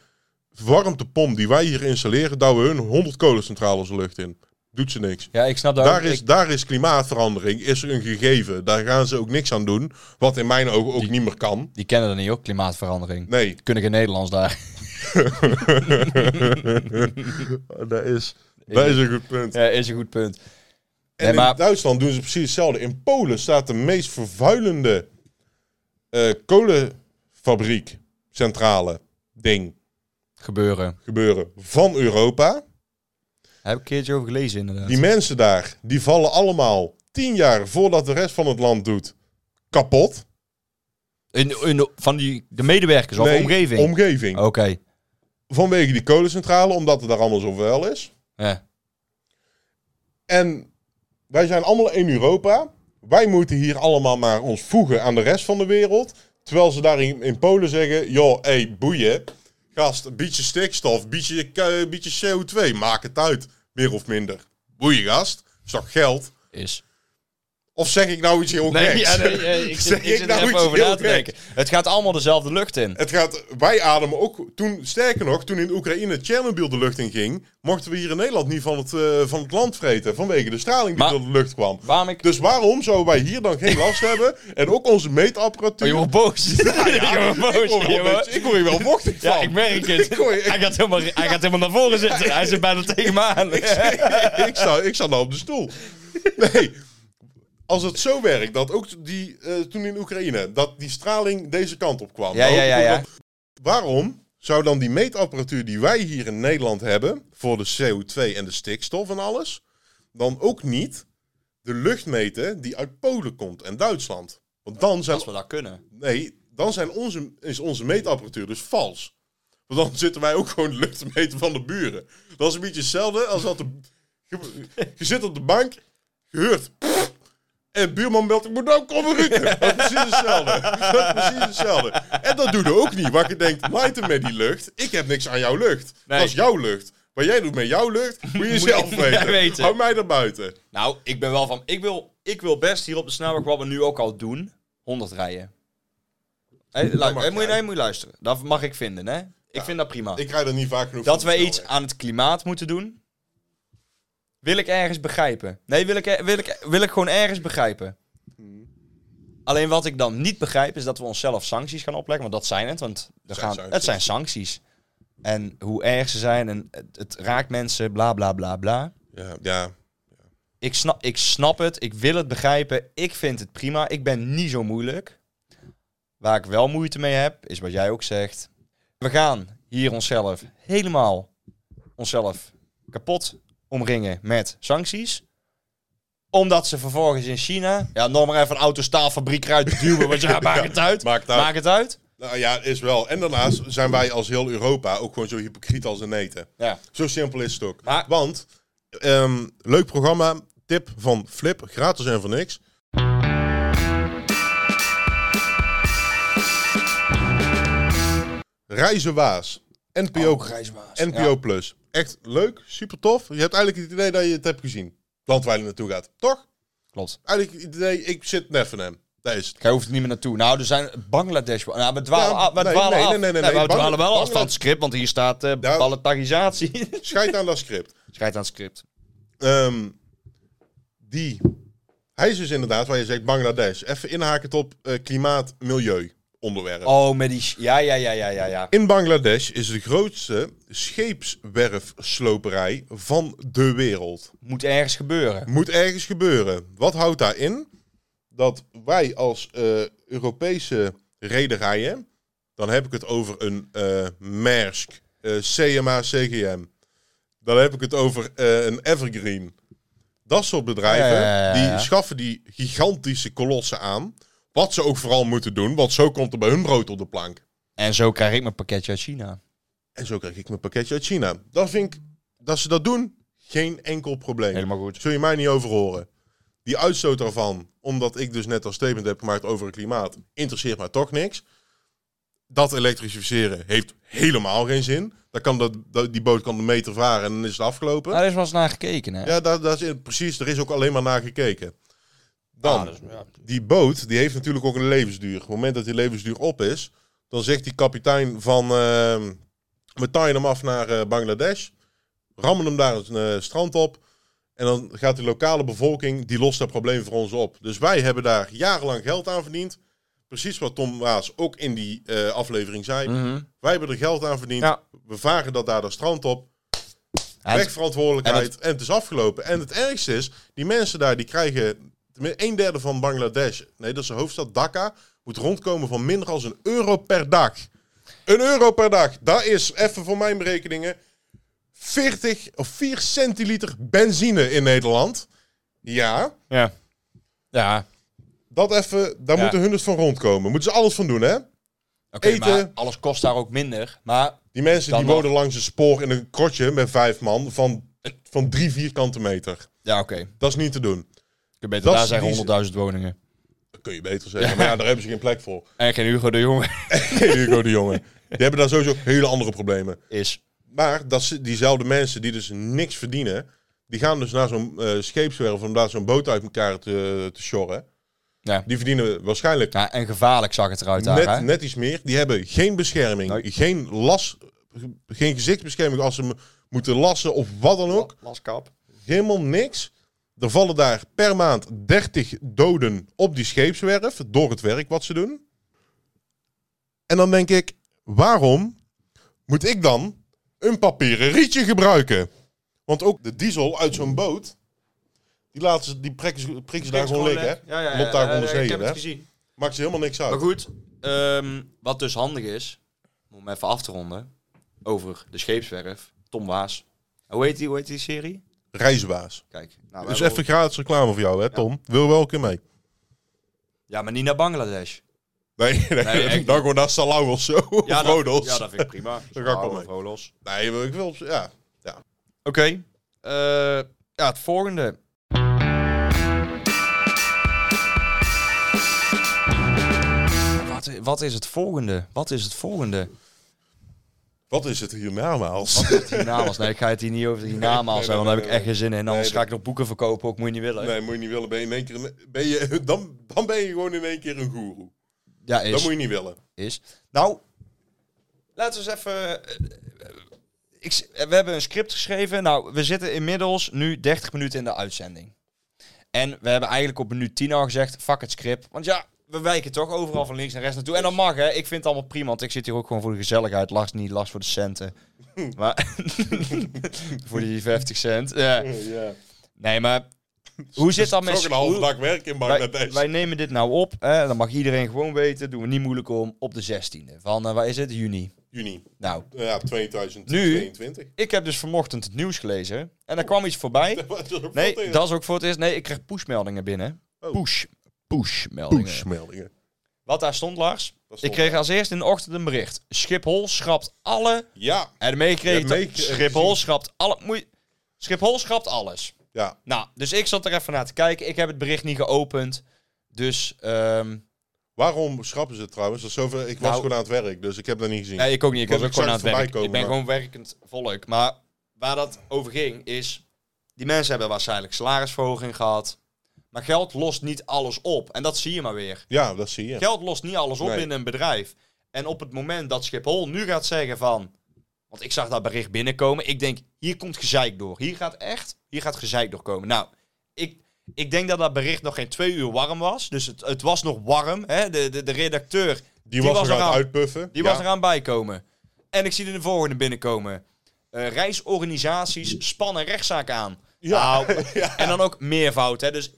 warmtepomp die wij hier installeren, douwen hun 100 kolencentrales de lucht in. Doet ze niks.
Ja, ik snap dat.
Daar
ook.
is,
Ik-
daar is klimaatverandering, is er een gegeven. Daar gaan ze ook niks aan doen. Wat in mijn ogen ook niet meer kan.
Die kennen dat niet ook, klimaatverandering.
Nee, <laughs>
Kunnen geen Nederlands daar.
dat is, dat is een goed punt.
Ja, is een goed punt.
En
Nee, maar-
in Duitsland doen ze precies hetzelfde. In Polen staat de meest vervuilende eh, kolenfabriek, centrale ding,
Gebeuren.
gebeuren van Europa.
Heb ik een keertje over gelezen, inderdaad.
Die mensen daar, die vallen allemaal tien jaar voordat de rest van het land doet, kapot.
In, in de- van die, de medewerkers of
Nee,
omgeving? Oh.
Omgeving.
Oké.
Vanwege die kolencentrale, omdat het daar allemaal zo vuil is.
Ja.
En wij zijn allemaal in Europa. Wij moeten hier allemaal maar ons voegen aan de rest van de wereld. Terwijl ze daar in, in Polen zeggen: joh, hé, hey, boeien. Gast, een beetje stikstof, een beetje, eh, een beetje CO2. Maak het uit, meer of minder. Boeien, gast. Is toch geld?
Is.
Of zeg ik nou iets heel
Nee,
geks?
ja, nee, eh, ik
Zeg
zit,
ik
ik zit
nou
er even
iets
over
heel
na te
gek?
denken. Het gaat allemaal dezelfde lucht in.
<laughs> Het gaat, wij ademen ook, toen, sterker nog, toen in Oekraïne Tsjernobyl de lucht in ging, mochten we hier in Nederland niet van het, eh, van het land vreten, vanwege de straling die
Maar-
door de lucht kwam.
Waarom ik...
Dus waarom zouden wij hier dan geen last hebben? En ook onze
Oh, je
meetapparatuur.
wordt
<laughs>
boos. <laughs> je wordt
ik, word
boos.
wel
je
een
wordt-
beetje- ik word hier wel vochtig van.
Oh, Ja, ik merk het.
<laughs> Ik hoor je-
Hij, gaat helemaal, hij gaat helemaal naar voren
<laughs>
zitten. Hij zit bijna tegen me aan.
ik, sta, ik sta nou op de stoel. Nee. Als het zo werkt, dat ook die, eh, toen in Oekraïne, dat die straling deze kant op kwam. Nou,
Ja, ja, ja, ja.
Waarom zou dan die meetapparatuur die wij hier in Nederland hebben, voor de CO2 en de stikstof en alles, dan ook niet de lucht meten die uit Polen komt en Duitsland? Want dan zijn
Als we dat kunnen.
Nee, dan zijn onze, is onze meetapparatuur dus vals. Want dan zitten wij ook gewoon de lucht te meten van de buren. Dat is een beetje hetzelfde als dat de, je, je zit op de bank, je hoort... pff, En buurman belt, ik moet nou komen rukken. Dat is precies hetzelfde. Dat is precies hetzelfde. En dat doe je ook niet. Waar je denkt, maait hem met die lucht. Ik heb niks aan jouw lucht.
Nee.
Dat is jouw lucht. Wat jij doet met jouw lucht, moet je zelf
jij
weten.
weten.
Hou mij daar buiten.
Nou, ik ben wel van... Ik wil ik wil best hier op de snelweg, wat we nu ook al doen, 100 rijden. Hé, lu-
mag
hé, moet, je,
jij.
hé, moet je luisteren. Dat mag ik vinden, hè? Ik vind dat prima.
Ik rijd er niet vaak genoeg
dat
van op
we
de
iets
snelweg.
aan het klimaat moeten doen, wil ik ergens begrijpen. Nee, wil ik, er- wil ik, wil ik gewoon ergens begrijpen.
Hmm.
Alleen wat ik dan niet begrijp is dat we onszelf sancties gaan opleggen. Want dat zijn het, want er
zijn
gaan, het
sancties.
zijn sancties. En hoe erg ze zijn en het, het raakt mensen, bla bla bla bla.
Ja, ja.
Ik snap, ik snap het, ik wil het begrijpen, ik vind het prima, ik ben niet zo moeilijk. Waar ik wel moeite mee heb, is wat jij ook zegt. We gaan hier onszelf helemaal onszelf kapot omringen met sancties. Omdat ze vervolgens in China... Ja, nog maar even een autostaalfabriek eruit duwen,
<laughs>
want ja, maak het uit.
maakt uit.
Maak het uit.
Nou ja, is wel. En daarnaast zijn wij als heel Europa ook gewoon zo hypocriet als een eten.
Ja.
Zo simpel is het ook.
Maar-
Want, ehm, leuk programma. Tip van Flip, gratis en voor niks. Reizen Waas. NPO,
Oh, Grijsbaas.
NPO Plus. Echt leuk, super tof. Je hebt eigenlijk het idee dat je het hebt gezien. Landwijlen naartoe gaat, toch?
Klopt.
Eigenlijk het idee, ik zit net van hem. Dat is het.
Jij hoeft er niet meer naartoe. Nou, er zijn Bangladesh. Nou, we dwalen,
Ja,
af, we
nee,
dwalen
nee,
af.
nee, nee, nee,
we
nee.
dwalen wel af
Bangla-
van het script, want hier staat eh
Ja.
balletarisatie. <laughs>
Scheid aan dat script.
Schrijf aan het script.
Ehm, die. Hij is dus inderdaad, waar je zegt Bangladesh. Even inhaken op eh, klimaat, milieu onderwerp.
Oh, met die... sh- Ja, ja, ja, ja, ja, ja.
In Bangladesh is de grootste scheepswerfsloperij van de wereld.
Moet ergens gebeuren.
Moet ergens gebeuren. Wat houdt daar in? Dat wij als eh, Europese rederijen, dan heb ik het over een eh Maersk, eh, CMA, CGM. Dan heb ik het over eh, een Evergreen. Dat soort bedrijven,
Ja, ja, ja, ja.
die schaffen die gigantische kolossen aan. Wat ze ook vooral moeten doen, want zo komt er bij hun brood op de plank.
En zo krijg ik mijn pakketje uit China.
En zo krijg ik mijn pakketje uit China. Dat vind ik, dat ze dat doen, geen enkel probleem.
Helemaal goed.
Zul je mij niet over horen. Die uitstoot daarvan, omdat ik dus net al statement heb gemaakt over het klimaat, interesseert mij toch niks. Dat elektrificeren heeft helemaal geen zin. Dan kan dat, dat- die boot kan de meter varen en dan is het afgelopen.
Daar is wel eens naar gekeken, hè?
Ja, daar, daar is, in- precies. Er is ook alleen maar naar gekeken. Dan,
Ah, dat is- ja.
die boot, die heeft natuurlijk ook een levensduur. Op het moment dat die levensduur op is, dan zegt die kapitein van... ehm we taaien hem af naar eh, Bangladesh, rammen hem daar een eh, strand op... en dan gaat de lokale bevolking, die lost dat probleem voor ons op. Dus wij hebben daar jarenlang geld aan verdiend. Precies wat Tom Waas ook in die eh, aflevering zei.
Mhm.
Wij hebben er geld aan verdiend.
Ja.
We varen dat daar dat strand op.
En-
Weg verantwoordelijkheid. En
en
het, is afgelopen. En het ergste is, die mensen daar, die krijgen... Een derde van Bangladesh, nee, dat is de hoofdstad Dhaka... moet rondkomen van minder dan een euro per dag. Een euro per dag. Dat is, even voor mijn berekeningen... 40 of 4 centiliter benzine in Nederland. Ja,
Ja. Ja.
dat even... Daar
Ja.
moeten hun dus van rondkomen. Moeten ze alles van doen, hè?
Oké,
Eten.
maar alles kost daar ook minder. Maar
Die mensen
Dan
die
nog.
wonen langs een spoor in een krotje met vijf man... van, van drie vierkante meter.
ja, oké. Je
Dat is niet te doen.
kunt beter
Dat
daar
is die-
zeggen 100.000 woningen.
Dat kun je beter zeggen. Maar ja, daar hebben ze geen plek voor. <laughs>
En geen Hugo de Jonge
Geen Hugo de Jonge. Die hebben daar sowieso hele andere problemen.
is.
Maar dat ze, diezelfde mensen die dus niks verdienen... die gaan dus naar zo'n eh, scheepswerf om daar zo'n boot uit elkaar te, te sjorren.
Ja.
Die verdienen waarschijnlijk
ja. En gevaarlijk zag het eruit daar, hè?
net, net iets meer. Die hebben geen bescherming,
Nee.
geen las... geen gezichtsbescherming als ze m- moeten lassen of wat dan ook.
Laskap.
Helemaal niks. Er vallen daar per maand 30 doden op die scheepswerf door het werk wat ze doen. En dan denk ik, waarom moet ik dan een papieren rietje gebruiken? Want ook de diesel uit zo'n boot, die, laten ze, die prikken ze, prikken ze daar gewoon lekker. hè?
Ja, ja, ja.
Loopt daar
ja,
onder
ja,
zee,
Ik heb
hè?
het gezien.
Maakt ze helemaal niks uit.
Maar goed, ehm, wat dus handig is, om even af te ronden, over de scheepswerf, Tom Waas. Hoe heet die, hoe heet die serie?
Reisbaas.
Kijk. Nou,
Dus
wij-
even gratis reclame voor jou, hè Tom? Wil wel een keer mee?
Ja, maar niet naar Bangladesh.
Nee, <laughs> nee,
Nee, echt
dan gewoon naar Salau of zo. of
Ja,
Rodos.
dat, ja, dat vind ik
<laughs>
prima.
Daar ga ik wel mee.
Rodos.
Nee, maar ik wil... op- Ja,
Oké. eh, ja, het volgende. Wat, wat is het volgende? Wat is het volgende?
Wat is het hier namaals?
Hiernamaals. Nee, ik ga het hier niet over de hiernamaals
nee,
hebben, want daar
nee,
heb ik
nee,
echt geen zin in. Anders
Nee,
ga ik nog boeken verkopen, ook moet je niet willen.
Nee, moet je niet willen. Ben je in één keer een- ben je, dan, dan ben je gewoon in één keer een goeroe.
Ja,
Dat
is,
moet je niet willen.
is. Nou, laten we eens even... eh, eh, ik, s- we hebben een script geschreven. Nou, we zitten inmiddels nu 30 minuten in de uitzending. En we hebben eigenlijk op minuut 10 al gezegd, fuck het script. Want ja, we wijken toch overal van links naar rechts naartoe. En dat mag, hè. Ik vind het allemaal prima, want ik zit hier ook gewoon voor de gezelligheid. Last niet, last voor de
<laughs>
centen. Maar, <laughs> voor die 50 cent. Ja.
Ja.
Nee, maar hoe zit dat met...
Toch een halve
hoe-
dag werk in
wij,
Bangladesh.
wij nemen dit nou op, hè, dan mag iedereen gewoon weten, doen we niet moeilijk om, op de 16e. Van, eh, waar is het? Juni.
Juni.
Nou,
Ja,
Nu?
<laughs> 2022.
ik heb dus vanochtend het nieuws gelezen en er kwam iets voorbij. Nee, dat is ook voor het eerst. Nee, ik kreeg pushmeldingen binnen.
Oh.
Push. Pushmeldingen.
pushmeldingen.
Wat daar stond, Lars?
Dat stond
Ik kreeg als eerst in de ochtend een bericht. Schiphol schrapt alle...
Ja,
En meegekregen.
Ja,
dat-
meegekregen.
Schiphol schrapt alle... Moet je- Schiphol schrapt alles.
ja.
Nou, dus ik zat er even naar te kijken. Ik heb het bericht niet geopend. Dus... ehm,
Waarom schrappen ze het trouwens? Dat is zoveel... Ik was
Nou-
gewoon aan het werk, dus ik heb dat niet gezien.
Nee, ik ook niet. Ik
Was
was ook
ik
gewoon aan
zag
het
het
werk.
voorbij
ik ben
komen,
gewoon werkend volk. Maar waar dat over ging is... Die mensen hebben waarschijnlijk salarisverhoging gehad. Maar geld lost niet alles op. En dat zie je maar weer.
Ja, dat zie je.
Geld lost niet alles op
Nee.
in een bedrijf. En op het moment dat Schiphol nu gaat zeggen van... Want ik zag dat bericht binnenkomen. Ik denk, hier komt gezeik door. Hier gaat echt, hier gaat gezeik doorkomen. Nou, ik, ik denk dat dat bericht nog geen twee uur warm was. Dus het, het was nog warm. Hè? De, de, de redacteur,
Die, was,
was
nog aan
eraan.
het uitpuffen.
die
Ja.
was eraan bijkomen. En ik zie er de volgende binnenkomen. Eh, reisorganisaties spannen rechtszaak aan. <laughs>
Ja.
Nou, En dan ook meervoud. Hè? Dus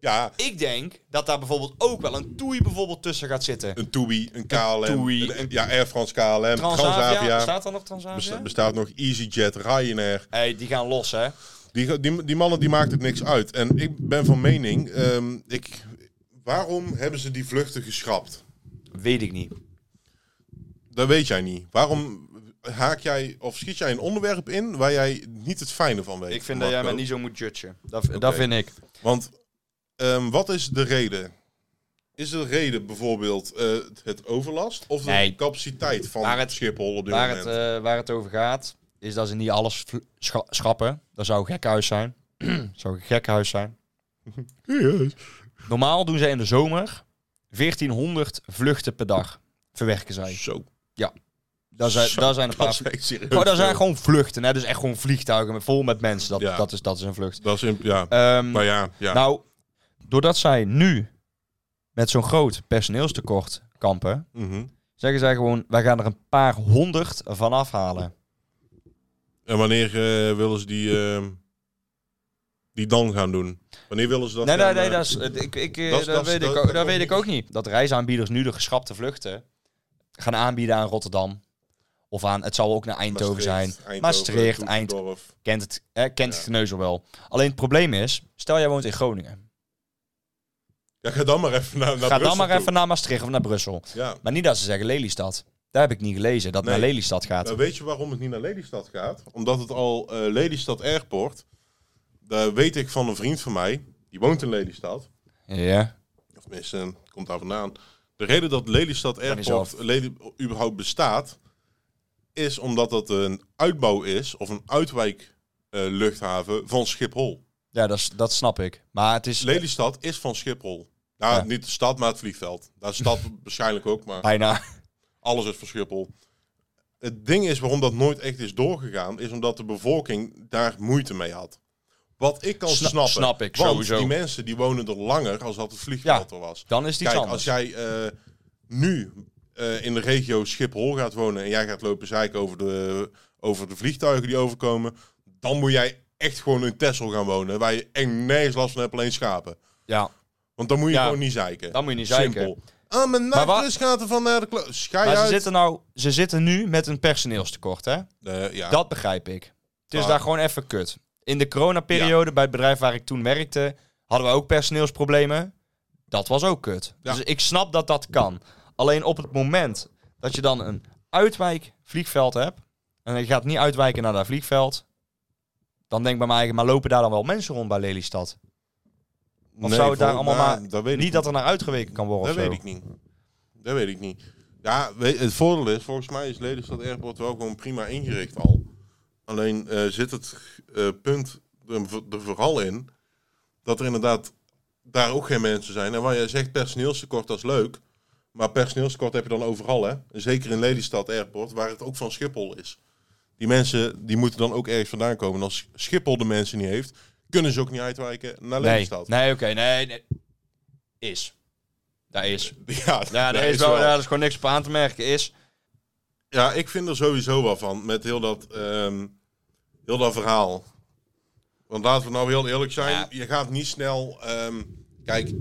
Ja,
ik denk dat daar bijvoorbeeld ook wel een toei bijvoorbeeld tussen gaat zitten.
een TUI, een KLM,
TUI,
een- ja, Air France
Transavia,
KLM, Transavia.
staat er nog
Besta-
Transavia?
bestaat nog EasyJet, Ryanair.
hey, die gaan los, hè?
Die, die, die mannen die maakt het niks uit. En ik ben van mening, ehm, ik, waarom hebben ze die vluchten geschrapt?
Weet ik niet.
Dat weet jij niet. Waarom haak jij of schiet jij een onderwerp in waar jij niet het fijne van weet?
Ik vind dat jij mij
Marco?
niet zo moet judgen. Dat, dat vind ik.
Want ehm, wat is de reden? Is de reden bijvoorbeeld eh, het overlast of de
Nee.
capaciteit van
Waar het-
Schiphol op dit
Waar
moment?
het, eh, waar het over gaat, is dat ze niet alles vl- scha- schrappen. Dat zou gekhuis zijn. <clears throat> zou een gekhuis zijn. eh, Normaal doen ze in de zomer 1400 vluchten per dag. Verwerken zij.
Zo.
Daar zijn,
Zo,
daar zijn een
Dat
paar...
is echt serieus.
Maar daar zijn gewoon vluchten, hè? Dus echt gewoon vliegtuigen met- vol met mensen. Dat,
Ja.
dat, is, dat is een vlucht.
Dat is in- ja.
Ehm,
Maar ja, ja.
Nou, doordat zij nu met zo'n groot personeelstekort kampen,
Mhm.
zeggen zij gewoon, wij gaan er een paar honderd van afhalen.
En wanneer eh, willen ze die, ehm, die dan gaan doen? Wanneer willen ze dat
nee, nee,
gaan,
nee,
eh,
dat, is, ik, ik, eh,
dat is-
dat,
dat is-
weet,
dat-
ik, ook,
dat
dat
komt
weet ik
niet.
ook niet. Dat reisaanbieders nu de geschrapte vluchten gaan aanbieden aan Rotterdam. Of aan, het zal ook naar Eindhoven zijn.
Eindhoven,
Maastricht, Eind,
Toetendorf.
kent het, eh, kent
Ja.
het geneuzel wel. Alleen het probleem is, stel jij woont in Groningen.
Ja, ga dan maar even naar, naar
Ga dan
Brussel
maar
toe.
even naar Maastricht of naar Brussel.
Ja.
Maar niet dat ze zeggen Lelystad. Daar heb ik niet gelezen, dat het
Nee.
naar Lelystad gaat.
Nou, weet je waarom het niet naar Lelystad gaat? Omdat het al eh, Lelystad Airport, daar weet ik van een vriend van mij, die woont in Lelystad,
Ja.
of tenminste, eh, komt daar vandaan. De reden dat Lelystad
niet
Airport Lely- überhaupt bestaat, is omdat dat een uitbouw is, of een uitwijk eh, luchthaven van Schiphol.
Ja, dat, is- dat snap ik. Maar het is
Lelystad is van Schiphol. Nou,
Ja.
niet de stad, maar het vliegveld. Daar is de
<laughs>
stad waarschijnlijk ook, maar
bijna.
alles is van Schiphol. Het ding is waarom dat nooit echt is doorgegaan, is omdat de bevolking daar moeite mee had. Wat ik kan
Sna-
snappen.
snap ik,
want
sowieso.
die mensen die wonen er langer als dat het vliegveld
Ja,
er was.
Dan is het iets
Kijk, als
anders.
jij eh, nu eh, in de regio Schiphol gaat wonen en jij gaat lopen zeiken over de, over de vliegtuigen die overkomen, dan moet jij echt gewoon in Texel gaan wonen, waar je echt nergens last van hebt, alleen schapen.
Ja,
Want dan moet je
Ja,
gewoon niet zeiken.
dan moet je niet zeiken.
Simpel. Ah, mijn
Maar wa-
nachtrust gaat ervan naar de klo. Schij
Maar ze
uit.
zitten, nou, ze zitten nu met een personeelstekort, hè?
Eh, ja. Ah.
Dat begrijp ik. Het is
Maar-
daar gewoon even kut. In de coronaperiode, bij het bedrijf waar ik toen werkte, hadden we ook personeelsproblemen. Dat was ook kut.
Ja.
Dus ik snap dat dat kan. Alleen op het moment dat je dan een uitwijkvliegveld hebt, en je gaat niet uitwijken naar dat vliegveld, dan denk ik bij mij eigen, maar lopen daar dan wel mensen rond bij Lelystad?
Nee,
zou het daar
voor-
allemaal
nou,
maar
dat weet ik
Niet dat er naar uitgeweken kan worden
Dat
of zo.
weet ik niet. Dat weet ik niet. Ja, weet- het voordeel is, volgens mij is Lelystad Airport wel gewoon prima ingericht al. Alleen eh, zit het eh, punt er, er vooral in dat er inderdaad daar ook geen mensen zijn. En waar jij zegt personeelstekort, dat is leuk. Maar personeelstekort heb je dan overal, hè? Zeker in Lelystad Airport, waar het ook van Schiphol is. Die mensen die moeten dan ook ergens vandaan komen. En als Schiphol de mensen niet heeft, kunnen ze ook niet uitwijken naar
Nee,
Lelystad.
nee oké, nee, nee. Is. Daar is.
<laughs> Ja,
Ja, daar is, wel, ja, daar is gewoon niks op aan te merken. Is.
Ja, ik vind er sowieso wel van met heel dat, ehm, heel dat verhaal. Want laten we nou heel eerlijk zijn,
Ja.
je gaat niet snel. ehm, kijk,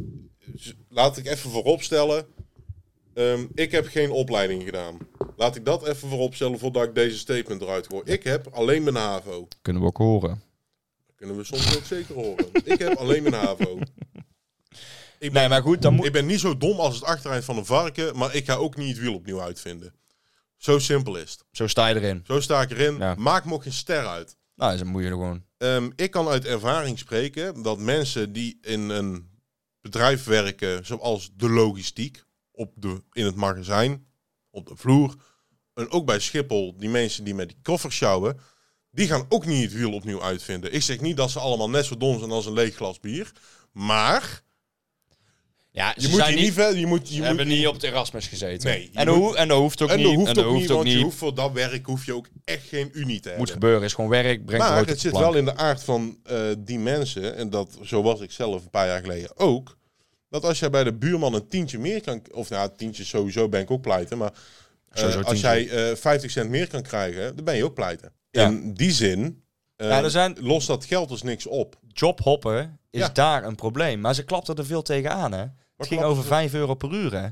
z- laat ik even vooropstellen. ehm, ik heb geen opleiding gedaan. Laat ik dat even vooropstellen voordat ik deze statement eruit gooi. Ik heb alleen mijn HAVO.
Kunnen we ook horen.
Dat kunnen we soms ook zeker horen. Ik heb alleen mijn HAVO. Ik ben,
Nee, maar goed, dan moet...
ik ben niet zo dom als het achtereind van een varken, maar ik ga ook niet het wiel opnieuw uitvinden. Zo simpel is het.
Zo sta je erin.
Zo sta ik erin.
Ja.
Maak me ook geen ster uit.
Nou, is een moeier gewoon.
Ehm, ik kan uit ervaring spreken dat mensen die in een bedrijf werken, zoals de logistiek, op de, in het magazijn, op de vloer, en ook bij Schiphol, die mensen die met die koffers sjouwen, die gaan ook niet het wiel opnieuw uitvinden. Ik zeg niet dat ze allemaal net zo dom zijn als een leeg glas bier, maar
Ja, ze
je moet je
zijn
niet
niet...
verder, je moet, je
Ze
moet
hebben niet op het Erasmus gezeten.
Nee, je
en, dat
moet-
hoe, en dat hoeft ook
en
niet.
dat hoeft
en
ook niet, want je hoeft voor dat werk hoef je ook echt geen unie te
Moet
hebben.
gebeuren. Is gewoon werk, brengt
Maar
brood
het
op
zit
de plank.
wel in de aard van eh, die mensen, en dat zo was ik zelf een paar jaar geleden ook, dat als jij bij de buurman een tientje meer kan, of nou, tientjes sowieso ben ik ook pleiten, maar eh,
Sowieso
als
tientje.
jij eh, 50 cent meer kan krijgen, dan ben je ook pleiten.
Ja.
In die zin, eh,
Ja, er zijn-
lost dat geld dus niks op.
Jobhoppen is
Ja.
daar een probleem. Maar ze klapten er veel tegenaan, hè. Het ging
klapten
over
ze?
5 euro per uur, hè.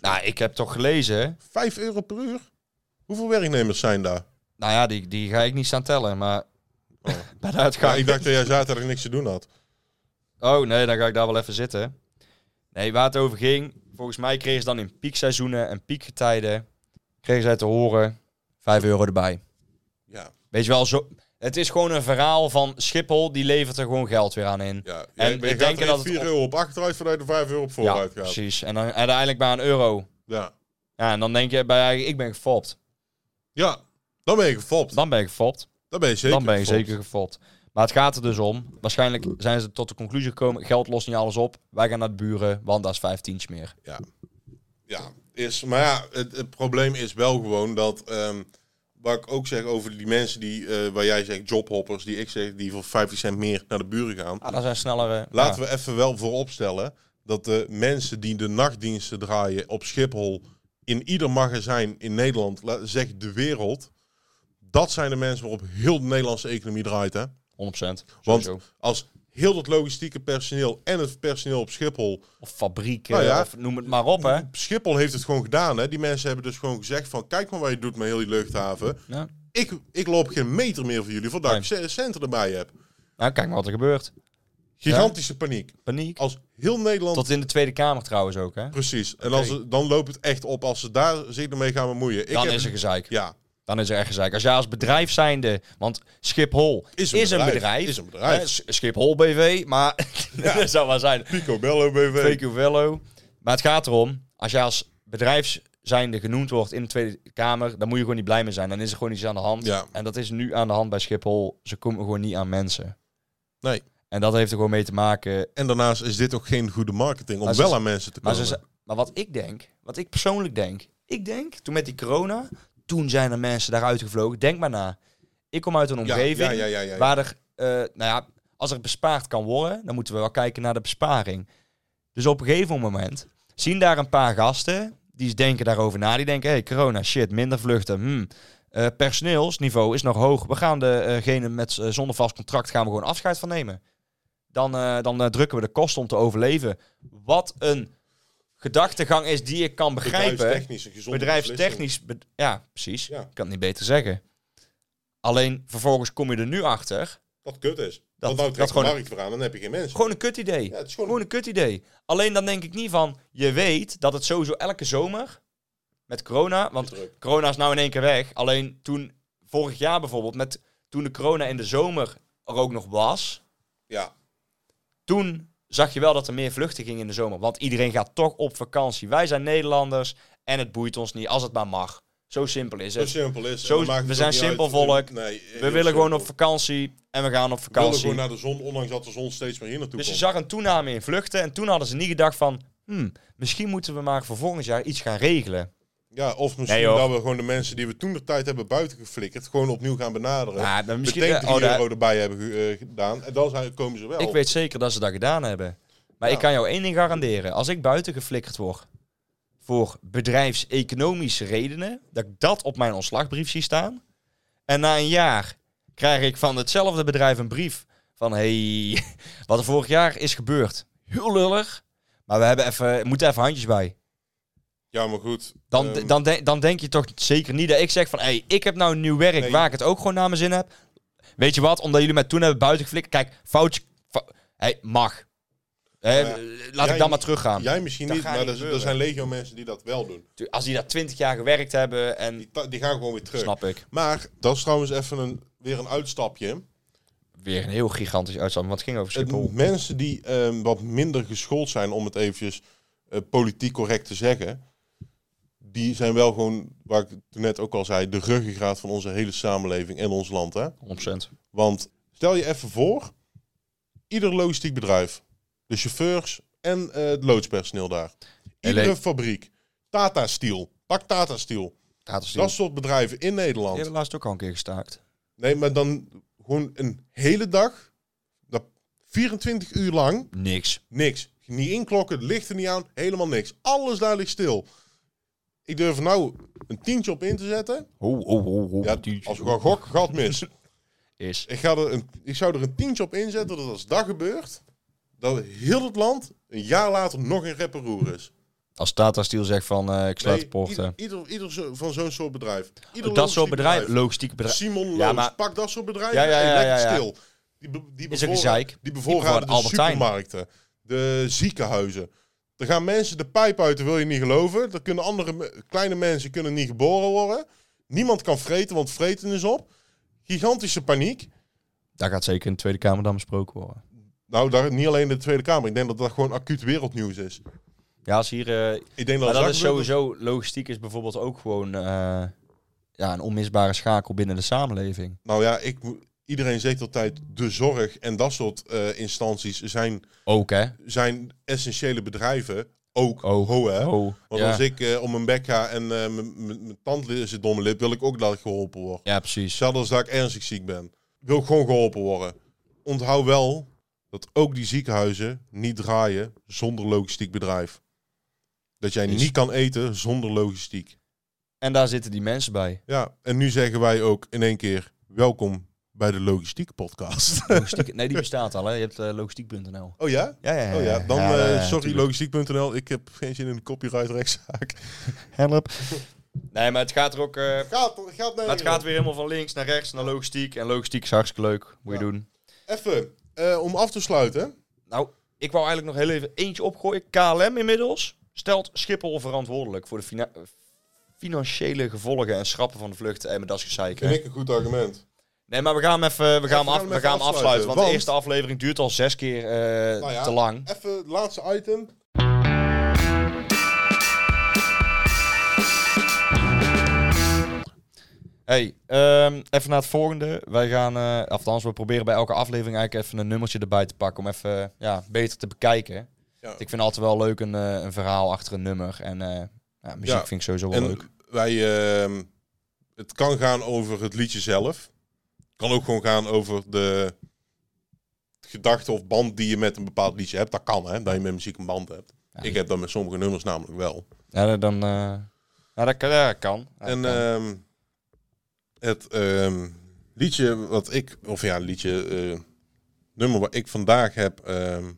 Nou, ik heb toch gelezen...
5 euro per uur? Hoeveel werknemers zijn daar?
Nou ja, die, die ga ik niet staan tellen, maar...
Oh.
<laughs> Bij de uitgang...
Ja, ik dacht dat jij zaterdag niks te doen had.
Oh nee, dan ga ik daar wel even zitten. Nee, waar het over ging, volgens mij kregen ze dan in piekseizoenen en piekgetijden, kregen zij te horen, 5 euro erbij.
Ja,
Weet je wel, zo, het is gewoon een verhaal van Schiphol, die levert er gewoon geld weer aan in.
ja.
En
En
ik
je gaat
denk
er echt
dat het
4
op-
euro op achteruit vanuit de 5 euro op vooruit gaat.
precies. En dan en uiteindelijk maar een euro.
Ja.
Ja, en dan denk je bij je eigen, ik ben gefopt.
ja, dan ben je gefopt.
Dan ben je gefopt.
Dan ben je zeker
dan ben je
gefopt.
zeker gefopt. Maar het gaat er dus om. Waarschijnlijk zijn ze tot de conclusie gekomen, geld lost niet alles op. Wij gaan naar de buren, want daar is 15 meer.
Ja, is, maar ja, het, het probleem is wel gewoon dat. ehm wat ik ook zeg over die mensen die, eh, waar jij zegt, jobhoppers, die ik zeg, die voor 50 cent meer naar de buren gaan.
Ah, daar zijn snellere...
Laten we even wel vooropstellen dat de mensen die de nachtdiensten draaien op Schiphol, in ieder magazijn in Nederland, la- zeg de wereld, dat zijn de mensen waarop heel de Nederlandse economie draait. Hè?
we... 100%.
Want
sowieso.
als heel dat logistieke personeel en het personeel op Schiphol
Of fabrieken,
Nou ja.
of noem het maar op, hè.
Schiphol heeft het gewoon gedaan. Hè? Die mensen hebben dus gewoon gezegd van... kijk maar wat je doet met heel die luchthaven.
Ja.
Ik, ik loop geen meter meer voor jullie... voordat ik ce- centen erbij heb.
Nou, kijk maar wat er gebeurt.
Gigantische paniek.
Paniek.
Als heel Nederland...
Tot in de Tweede Kamer trouwens ook, hè.
Precies. En als ze- dan loopt het echt op als ze daar zich ermee gaan bemoeien. Ik
Dan
heb-
is er gezeik.
Ja,
Dan is er echt gezeik. Als jij als bedrijf zijnde... Want Schiphol
Is
is
een
een,
bedrijf.
bedrijf.
Is een bedrijf.
Hè, S- Schiphol BV, maar... <laughs> dat zou wel zijn.
Pico Bello BV.
Fake you fellow. Maar het gaat erom, als jij als bedrijf zijnde genoemd wordt in de Tweede Kamer... dan moet je gewoon niet blij mee zijn. Dan is er gewoon iets aan de hand.
Ja.
En dat is nu aan de hand bij Schiphol. Ze komen gewoon niet aan mensen.
Nee.
En dat heeft er gewoon mee te maken...
En daarnaast is dit ook geen goede marketing... om
Maar ze-
wel aan mensen te
Maar,
komen.
ze, ze- maar wat ik denk, wat ik persoonlijk denk. Ik denk, toen met die corona, toen zijn er mensen daaruit gevlogen. Denk maar na. Ik kom uit een
ja,
omgeving
ja, ja, ja, ja, ja.
waar er, eh, nou ja, als er bespaard kan worden, dan moeten we wel kijken naar de besparing. Dus op een gegeven moment zien daar een paar gasten, die denken daarover na. Die denken, hey, corona, shit, minder vluchten. hmm. Eh, personeelsniveau is nog hoog. We gaan degene met, eh, zonder vast contract gaan we gewoon afscheid van nemen. Dan, eh, dan eh, drukken we de kosten om te overleven. Wat een gedachtegang is die ik kan begrijpen.
Bedrijfstechnisch. een gezonde beslissing.
Bedrijfstechnisch, be- ja, precies.
Ja.
Ik kan het niet beter zeggen. Alleen vervolgens kom je er nu achter.
Dat kut is.
Dat-
Dat, Want nou
dat
trekt de
gewoon-
markt voor aan. Dan heb je geen mensen.
Gewoon een kut idee.
Ja, het is gewoon-
gewoon een kut idee. Alleen dan denk ik niet van, je weet dat het sowieso elke zomer met corona, want
Is druk.
corona is nou in één keer weg. Alleen toen vorig jaar bijvoorbeeld met toen de corona in de zomer er ook nog was,
Ja.
toen zag je wel dat er meer vluchten gingen in de zomer, want iedereen gaat toch op vakantie. Wij zijn Nederlanders En het boeit ons niet, als het maar mag. Zo simpel is
Zo
het.
simpel is. het.
Dus Zo-
En dan maakt
we
het
zijn
ook niet
simpel
uit.
volk.
Nee, heel
We willen
simpel.
gewoon op vakantie en we gaan op
We willen
vakantie.
gewoon naar de zon, ondanks dat de zon steeds meer hier naartoe
Dus je
komt.
zag een toename in vluchten en toen hadden ze niet gedacht van... Hmm, misschien moeten we maar voor volgend jaar iets gaan regelen.
Ja, of misschien
Nee, joh.
dat we gewoon de mensen die we toen de tijd hebben buiten geflikkerd, gewoon opnieuw gaan benaderen.
Ja, dan misschien-
Meteen 3
oh, daar-
euro erbij hebben ge- eh, gedaan. En dan zijn, komen ze wel.
Ik weet zeker dat ze dat gedaan hebben. Maar
Ja.
ik kan jou één ding garanderen. Als ik buiten geflikkerd word voor bedrijfseconomische redenen, dat ik dat op mijn ontslagbrief zie staan. En na een jaar krijg ik van hetzelfde bedrijf een brief van hey, <laughs> wat er vorig jaar is gebeurd. Heel lullig, maar we hebben even, moeten even handjes bij.
Ja, maar goed.
Dan,
ehm,
dan, denk- dan denk je toch zeker niet dat ik zeg van... hey, ik heb nou een nieuw werk
Nee.
waar ik het ook gewoon naar mijn zin heb. Weet je wat? Omdat jullie mij toen hebben buiten geflikt. Kijk, foutje... fou- hey, mag. Hé,
Ja.
laat
Jij-
ik dan maar teruggaan.
Jij misschien
Dat
niet,
gaat
maar
niet
er, er
gebeuren.
zijn legio mensen die dat wel doen.
Tu- Als die daar twintig jaar gewerkt hebben en...
Die, ta- die gaan gewoon weer terug.
Snap ik.
Maar dat is trouwens even een, weer een uitstapje.
Weer een heel gigantisch uitstap, want het ging over
Het-
Schiphol.
mensen die ehm, wat minder geschoold zijn, om het eventjes eh, politiek correct te zeggen, die zijn wel gewoon, waar ik toen net ook al zei, de ruggengraat van onze hele samenleving en ons land. Hè?
100%.
Want stel je even voor, ieder logistiek bedrijf, de chauffeurs en eh, het loodspersoneel daar, iedere
LA.
fabriek, Tata Steel, pak Tata Steel,
Gaat het
dat soort bedrijven in
Die
Nederland.
hebben laatst ook al een keer gestaakt.
Nee, maar dan gewoon een hele dag, dat 24 uur lang.
Niks.
Niks. Niet inklokken, licht er niet aan, helemaal niks. Alles daar ligt stil. Ik durf er nou een tientje op in te zetten.
Ho, ho, ho, ho.
Ja, als ik gewoon gok, gat mis. <laughs>
Is.
Ik, ga er een, ik zou er een tientje op inzetten dat als dat gebeurt, dat heel het land een jaar later nog een rapper roer is.
Als Tata Steel zegt van eh, ik sluit
Nee,
de poorten.
ieder, ieder, ieder zo- van zo'n soort bedrijf. Ieder
dat soort
logistiek
bedrijf, logistiek bedrijf.
Simon Loos,
Ja, maar-
pak dat soort bedrijven
Ja, ja,
en
ja,
lekker
ja, ja.
stil. Die, be- die
Is er
bevoorra-
gezeik?
Die
bevoorraden
bevoorraden de
Albert Heijn.
supermarkten, de ziekenhuizen. Er gaan mensen de pijp uit, dat wil je niet geloven. Er kunnen andere me- kleine mensen kunnen niet geboren worden. Niemand kan vreten, want vreten is op. Gigantische paniek.
Daar gaat zeker in de Tweede Kamer dan besproken worden.
Nou, daar, niet alleen in de Tweede Kamer. Ik denk dat dat gewoon acuut wereldnieuws is.
Ja, als hier eh,
Ik denk dat,
Maar dat
dat
is
gebeurt,
sowieso, logistiek is bijvoorbeeld ook gewoon eh, ja, een onmisbare schakel binnen de samenleving.
Nou ja, ik, mo- iedereen zegt altijd de zorg en dat soort eh, instanties zijn,
Ook hè?
zijn essentiële bedrijven. Ook,
Ook.
ho hè.
Oh,
Want
ja.
als ik eh, om mijn bek ga en eh, mijn- mijn mijn tand zit domme lip, wil ik ook dat ik geholpen word.
ja, precies.
Zelfs als dat ik ernstig ziek ben, wil ik gewoon geholpen worden. Onthoud wel dat ook die ziekenhuizen niet draaien zonder logistiek bedrijf. Dat jij
Is-
niet kan eten zonder logistiek.
En daar zitten die mensen <laughs> bij.
Ja, en nu zeggen wij ook in één keer welkom bij de logistiek podcast. <laughs>
Logistiek, nee, die bestaat al hè. Je hebt eh, logistiek.nl.
Oh ja?
Ja, ja, ja.
Oh ja, dan
Ja,
eh,
ja, ja,
sorry
tuurlijk.
logistiek.nl, ik heb geen zin in een copyright rechtszaak.
Help. <laughs> Nee, maar het gaat er ook... eh,
Gaat, gaat
maar het gaat weer helemaal van links naar rechts naar logistiek. En logistiek is hartstikke leuk. Moet je
Ja.
doen.
Even, eh, om af te sluiten.
Nou, ik wou eigenlijk nog heel even eentje opgooien. KLM inmiddels stelt Schiphol verantwoordelijk voor de fina- financiële gevolgen en schrappen van de vluchten. En met dat is gezeik, hè.
Vind ik een goed argument.
Nee, maar we gaan hem even, we gaan hem af,
hem
we
even
gaan hem
afsluiten,
afsluiten. Want,
want-
de eerste aflevering duurt al zes keer eh,
Nou ja.
te lang.
Even het laatste item.
Hey, ehm, even naar het volgende. Wij gaan, eh althans, we proberen bij elke aflevering eigenlijk even een nummertje erbij te pakken. Om even eh, ja, beter te bekijken.
Ja.
Ik vind altijd wel leuk een, eh, een verhaal achter een nummer. En eh, ja, muziek
Ja,
vind ik sowieso wel
En
leuk.
wij, ehm, het kan gaan over het liedje zelf. kan ook gewoon gaan over de gedachte of band die je met een bepaald liedje hebt. Dat kan, hè? Dat je met muziek een band hebt.
Ja.
Ik heb dat met sommige nummers namelijk wel.
Ja, dan... eh, ja, dat kan. Dat kan. Ja,
en
dat Ah, kan.
ehm, het ehm, liedje wat ik, of ja, liedje, eh, nummer wat ik vandaag heb ehm,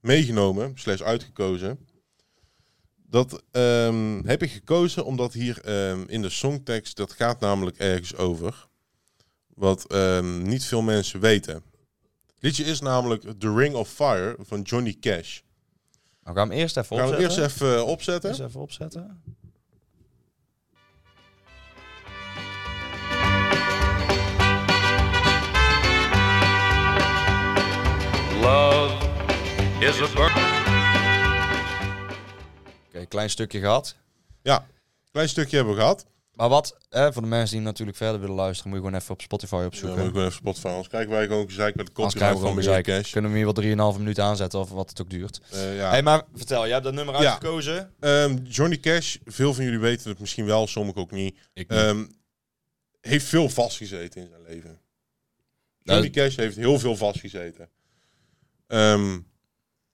meegenomen, slechts uitgekozen, dat ehm, heb ik gekozen omdat hier ehm, in de songtekst, dat gaat namelijk ergens over, wat ehm, niet veel mensen weten. Het liedje is namelijk The Ring of Fire van Johnny Cash.
Nou, gaan we hem eerst even
We gaan hem
opzetten.
eerst even eh, opzetten.
Eerst even opzetten.
Love is a bird.
Oké, klein stukje gehad.
Ja, klein stukje hebben we gehad.
Maar wat, hè, voor de mensen die natuurlijk verder willen luisteren, moet je gewoon even op Spotify
Ja,
opzoeken.
moet ik gewoon even Spotify. Anders krijgen wij gewoon gezeik met de
Anders krijgen we
copyright van
gewoon
Meneer
gezeik.
Cash.
Kunnen we hier wel 3,5 minuten aanzetten of wat het ook duurt.
Eh, ja.
hey, maar vertel, jij hebt dat nummer
Ja.
uitgekozen.
Ehm, Johnny Cash, veel van jullie weten het misschien wel, sommigen ook niet.
Ik
Ehm, heeft veel vastgezeten in zijn leven.
Nou,
Johnny Cash heeft heel veel vastgezeten. Ehm,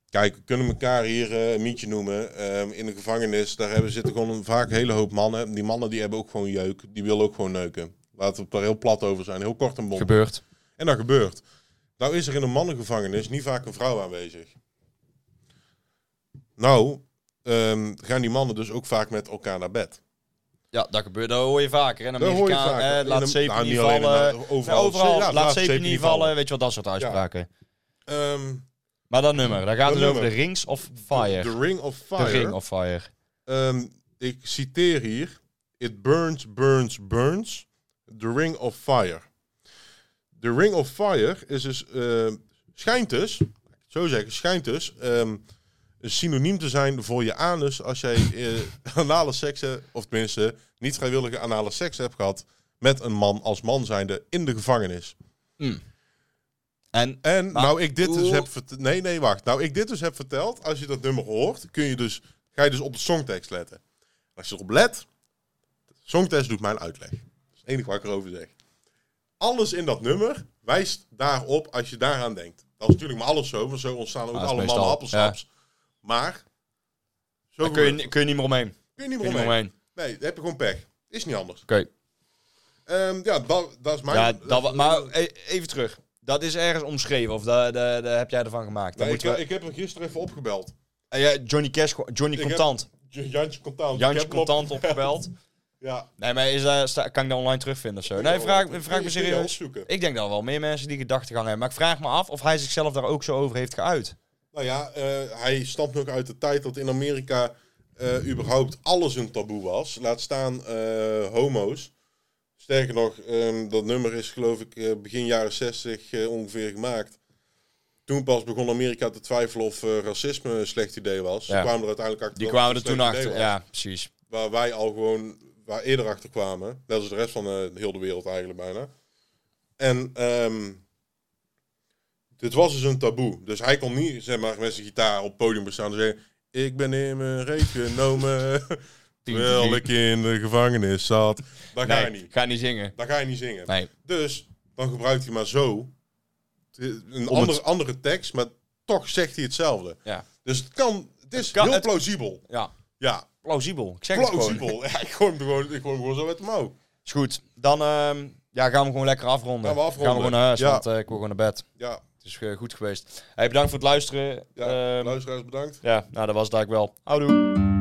kijk, we kunnen elkaar hier eh, een mietje noemen. Ehm, in de gevangenis, daar hebben, zitten gewoon een- vaak een hele hoop mannen. Die mannen die hebben ook gewoon jeuk. Die willen ook gewoon neuken. Laten we het daar heel plat over zijn. Heel kort en bondig.
Gebeurt.
En dat gebeurt. Nou is er in een mannengevangenis niet vaak een vrouw aanwezig. Nou ehm, gaan die mannen dus ook vaak met elkaar naar bed.
Ja, dat gebeurt. Dat hoor je vaker. En
Dat hoor je
Amerikaan,
vaker.
eh,
In
laat
een-
zeep
nou,
niet
niet alleen,
vallen.
maar
Nee,
overal.
eh, overal.
Ja,
laat, zeep niet vallen. eh, Weet je wel, dat soort uitspraken.
Ehm,
Maar dat nummer, daar gaat
Dat
het over de
nummer.
Rings of Fire.
The Ring of Fire.
De Ring of Fire.
Ehm, ik citeer hier. It burns, burns, burns. The Ring of Fire. The Ring of Fire is dus, ehm, schijnt dus, laat ik het zo zeggen, schijnt dus ehm, een synoniem te zijn voor je anus als jij eh, <laughs> anale seks, hebt, of tenminste niet vrijwillige anale seks hebt gehad met een man als man zijnde in de gevangenis.
En eh,
En
Maar
nou ik dit dus
hoe-
heb verteld. Nee, nee, wacht. Nou ik dit dus heb verteld. Als je dat nummer hoort, kun je dus, ga je dus op de songtekst letten. Als je erop let, de songtekst doet mijn uitleg. Dat is het enige wat ik erover zeg. Alles in dat nummer wijst daarop als je daaraan denkt. Dat is natuurlijk maar alles zo, want zo ontstaan
Ah,
ook
dat is
alle
meestal,
mannen appelsaps. Maar, zo
daar kun je,
gebeurt
ni- kun je niet meer omheen. Kun
het. Kun je niet
je
meer
niet meer
omheen.
omheen. Oké.
Nee, daar heb je gewoon pech. Is niet anders. Ehm, ja, dat, dat is mijn...
Ja, dat, wa- maar e- even terug. Dat is ergens omschreven, of daar daar- daar heb jij ervan gemaakt. Dan
Nee, ik,
moeten we...
ik heb er gisteren even opgebeld.
Eh, ja, Johnny Cash, Johnny
Ik heb-
Contant.
Jantje Contant. Ik
Jantje
heb hem op- <laughs>
Contant opgebeld.
Ja.
Nee, maar is daar, sta- kan ik dat online terugvinden of zo? Nee, vraag, vraag me serieus.
Zoeken.
Ik denk dat er wel meer mensen die gedachtegang hebben. Maar ik vraag me af of hij zichzelf daar ook zo over heeft geuit.
Nou ja, eh, hij stamt nog uit de tijd dat in Amerika eh, überhaupt alles een taboe was. Laat staan eh, homo's. Sterker nog, ehm, dat nummer is geloof ik eh, begin jaren 60 eh, ongeveer gemaakt. Toen pas begon Amerika te twijfelen of eh, racisme een slecht idee was.
Ja.
Ze kwamen er uiteindelijk achter.
Die
dat het
kwamen er
een
toen
slecht idee
achter.
was.
Ja, precies.
waar wij al gewoon waar eerder achter kwamen. Net als de rest van eh, heel de wereld eigenlijk bijna. En ehm, dit was dus een taboe. Dus hij kon niet zeg maar, met zijn gitaar op het podium bestaan en zeggen... Ik ben in mijn reet genomen,
<laughs>
terwijl ik in de gevangenis zat. Dat ga je
Nee,
niet.
ga niet zingen.
Dat ga je niet zingen.
Nee.
Dus dan gebruikt hij maar zo een
Om het-
andere, andere tekst, maar toch zegt hij hetzelfde.
Ja.
Dus het kan, het is
kan-
heel
het-
plausibel.
Ja.
Ja,
Plausibel. Ik zeg het gewoon.
plausibel. Ja, ik gooi hem gewoon, ik gooi hem gewoon zo uit de mouw.
Is goed. Dan ehm, ja, gaan we gewoon lekker afronden.
Gaan we afronden.
gewoon naar huis,
Ja.
want eh, ik wil gewoon naar bed.
Ja,
Het is eh, goed geweest. Hey, bedankt voor het luisteren.
ja
Ehm,
luisteraars bedankt.
ja, nou, dat was het eigenlijk wel. Houdoe.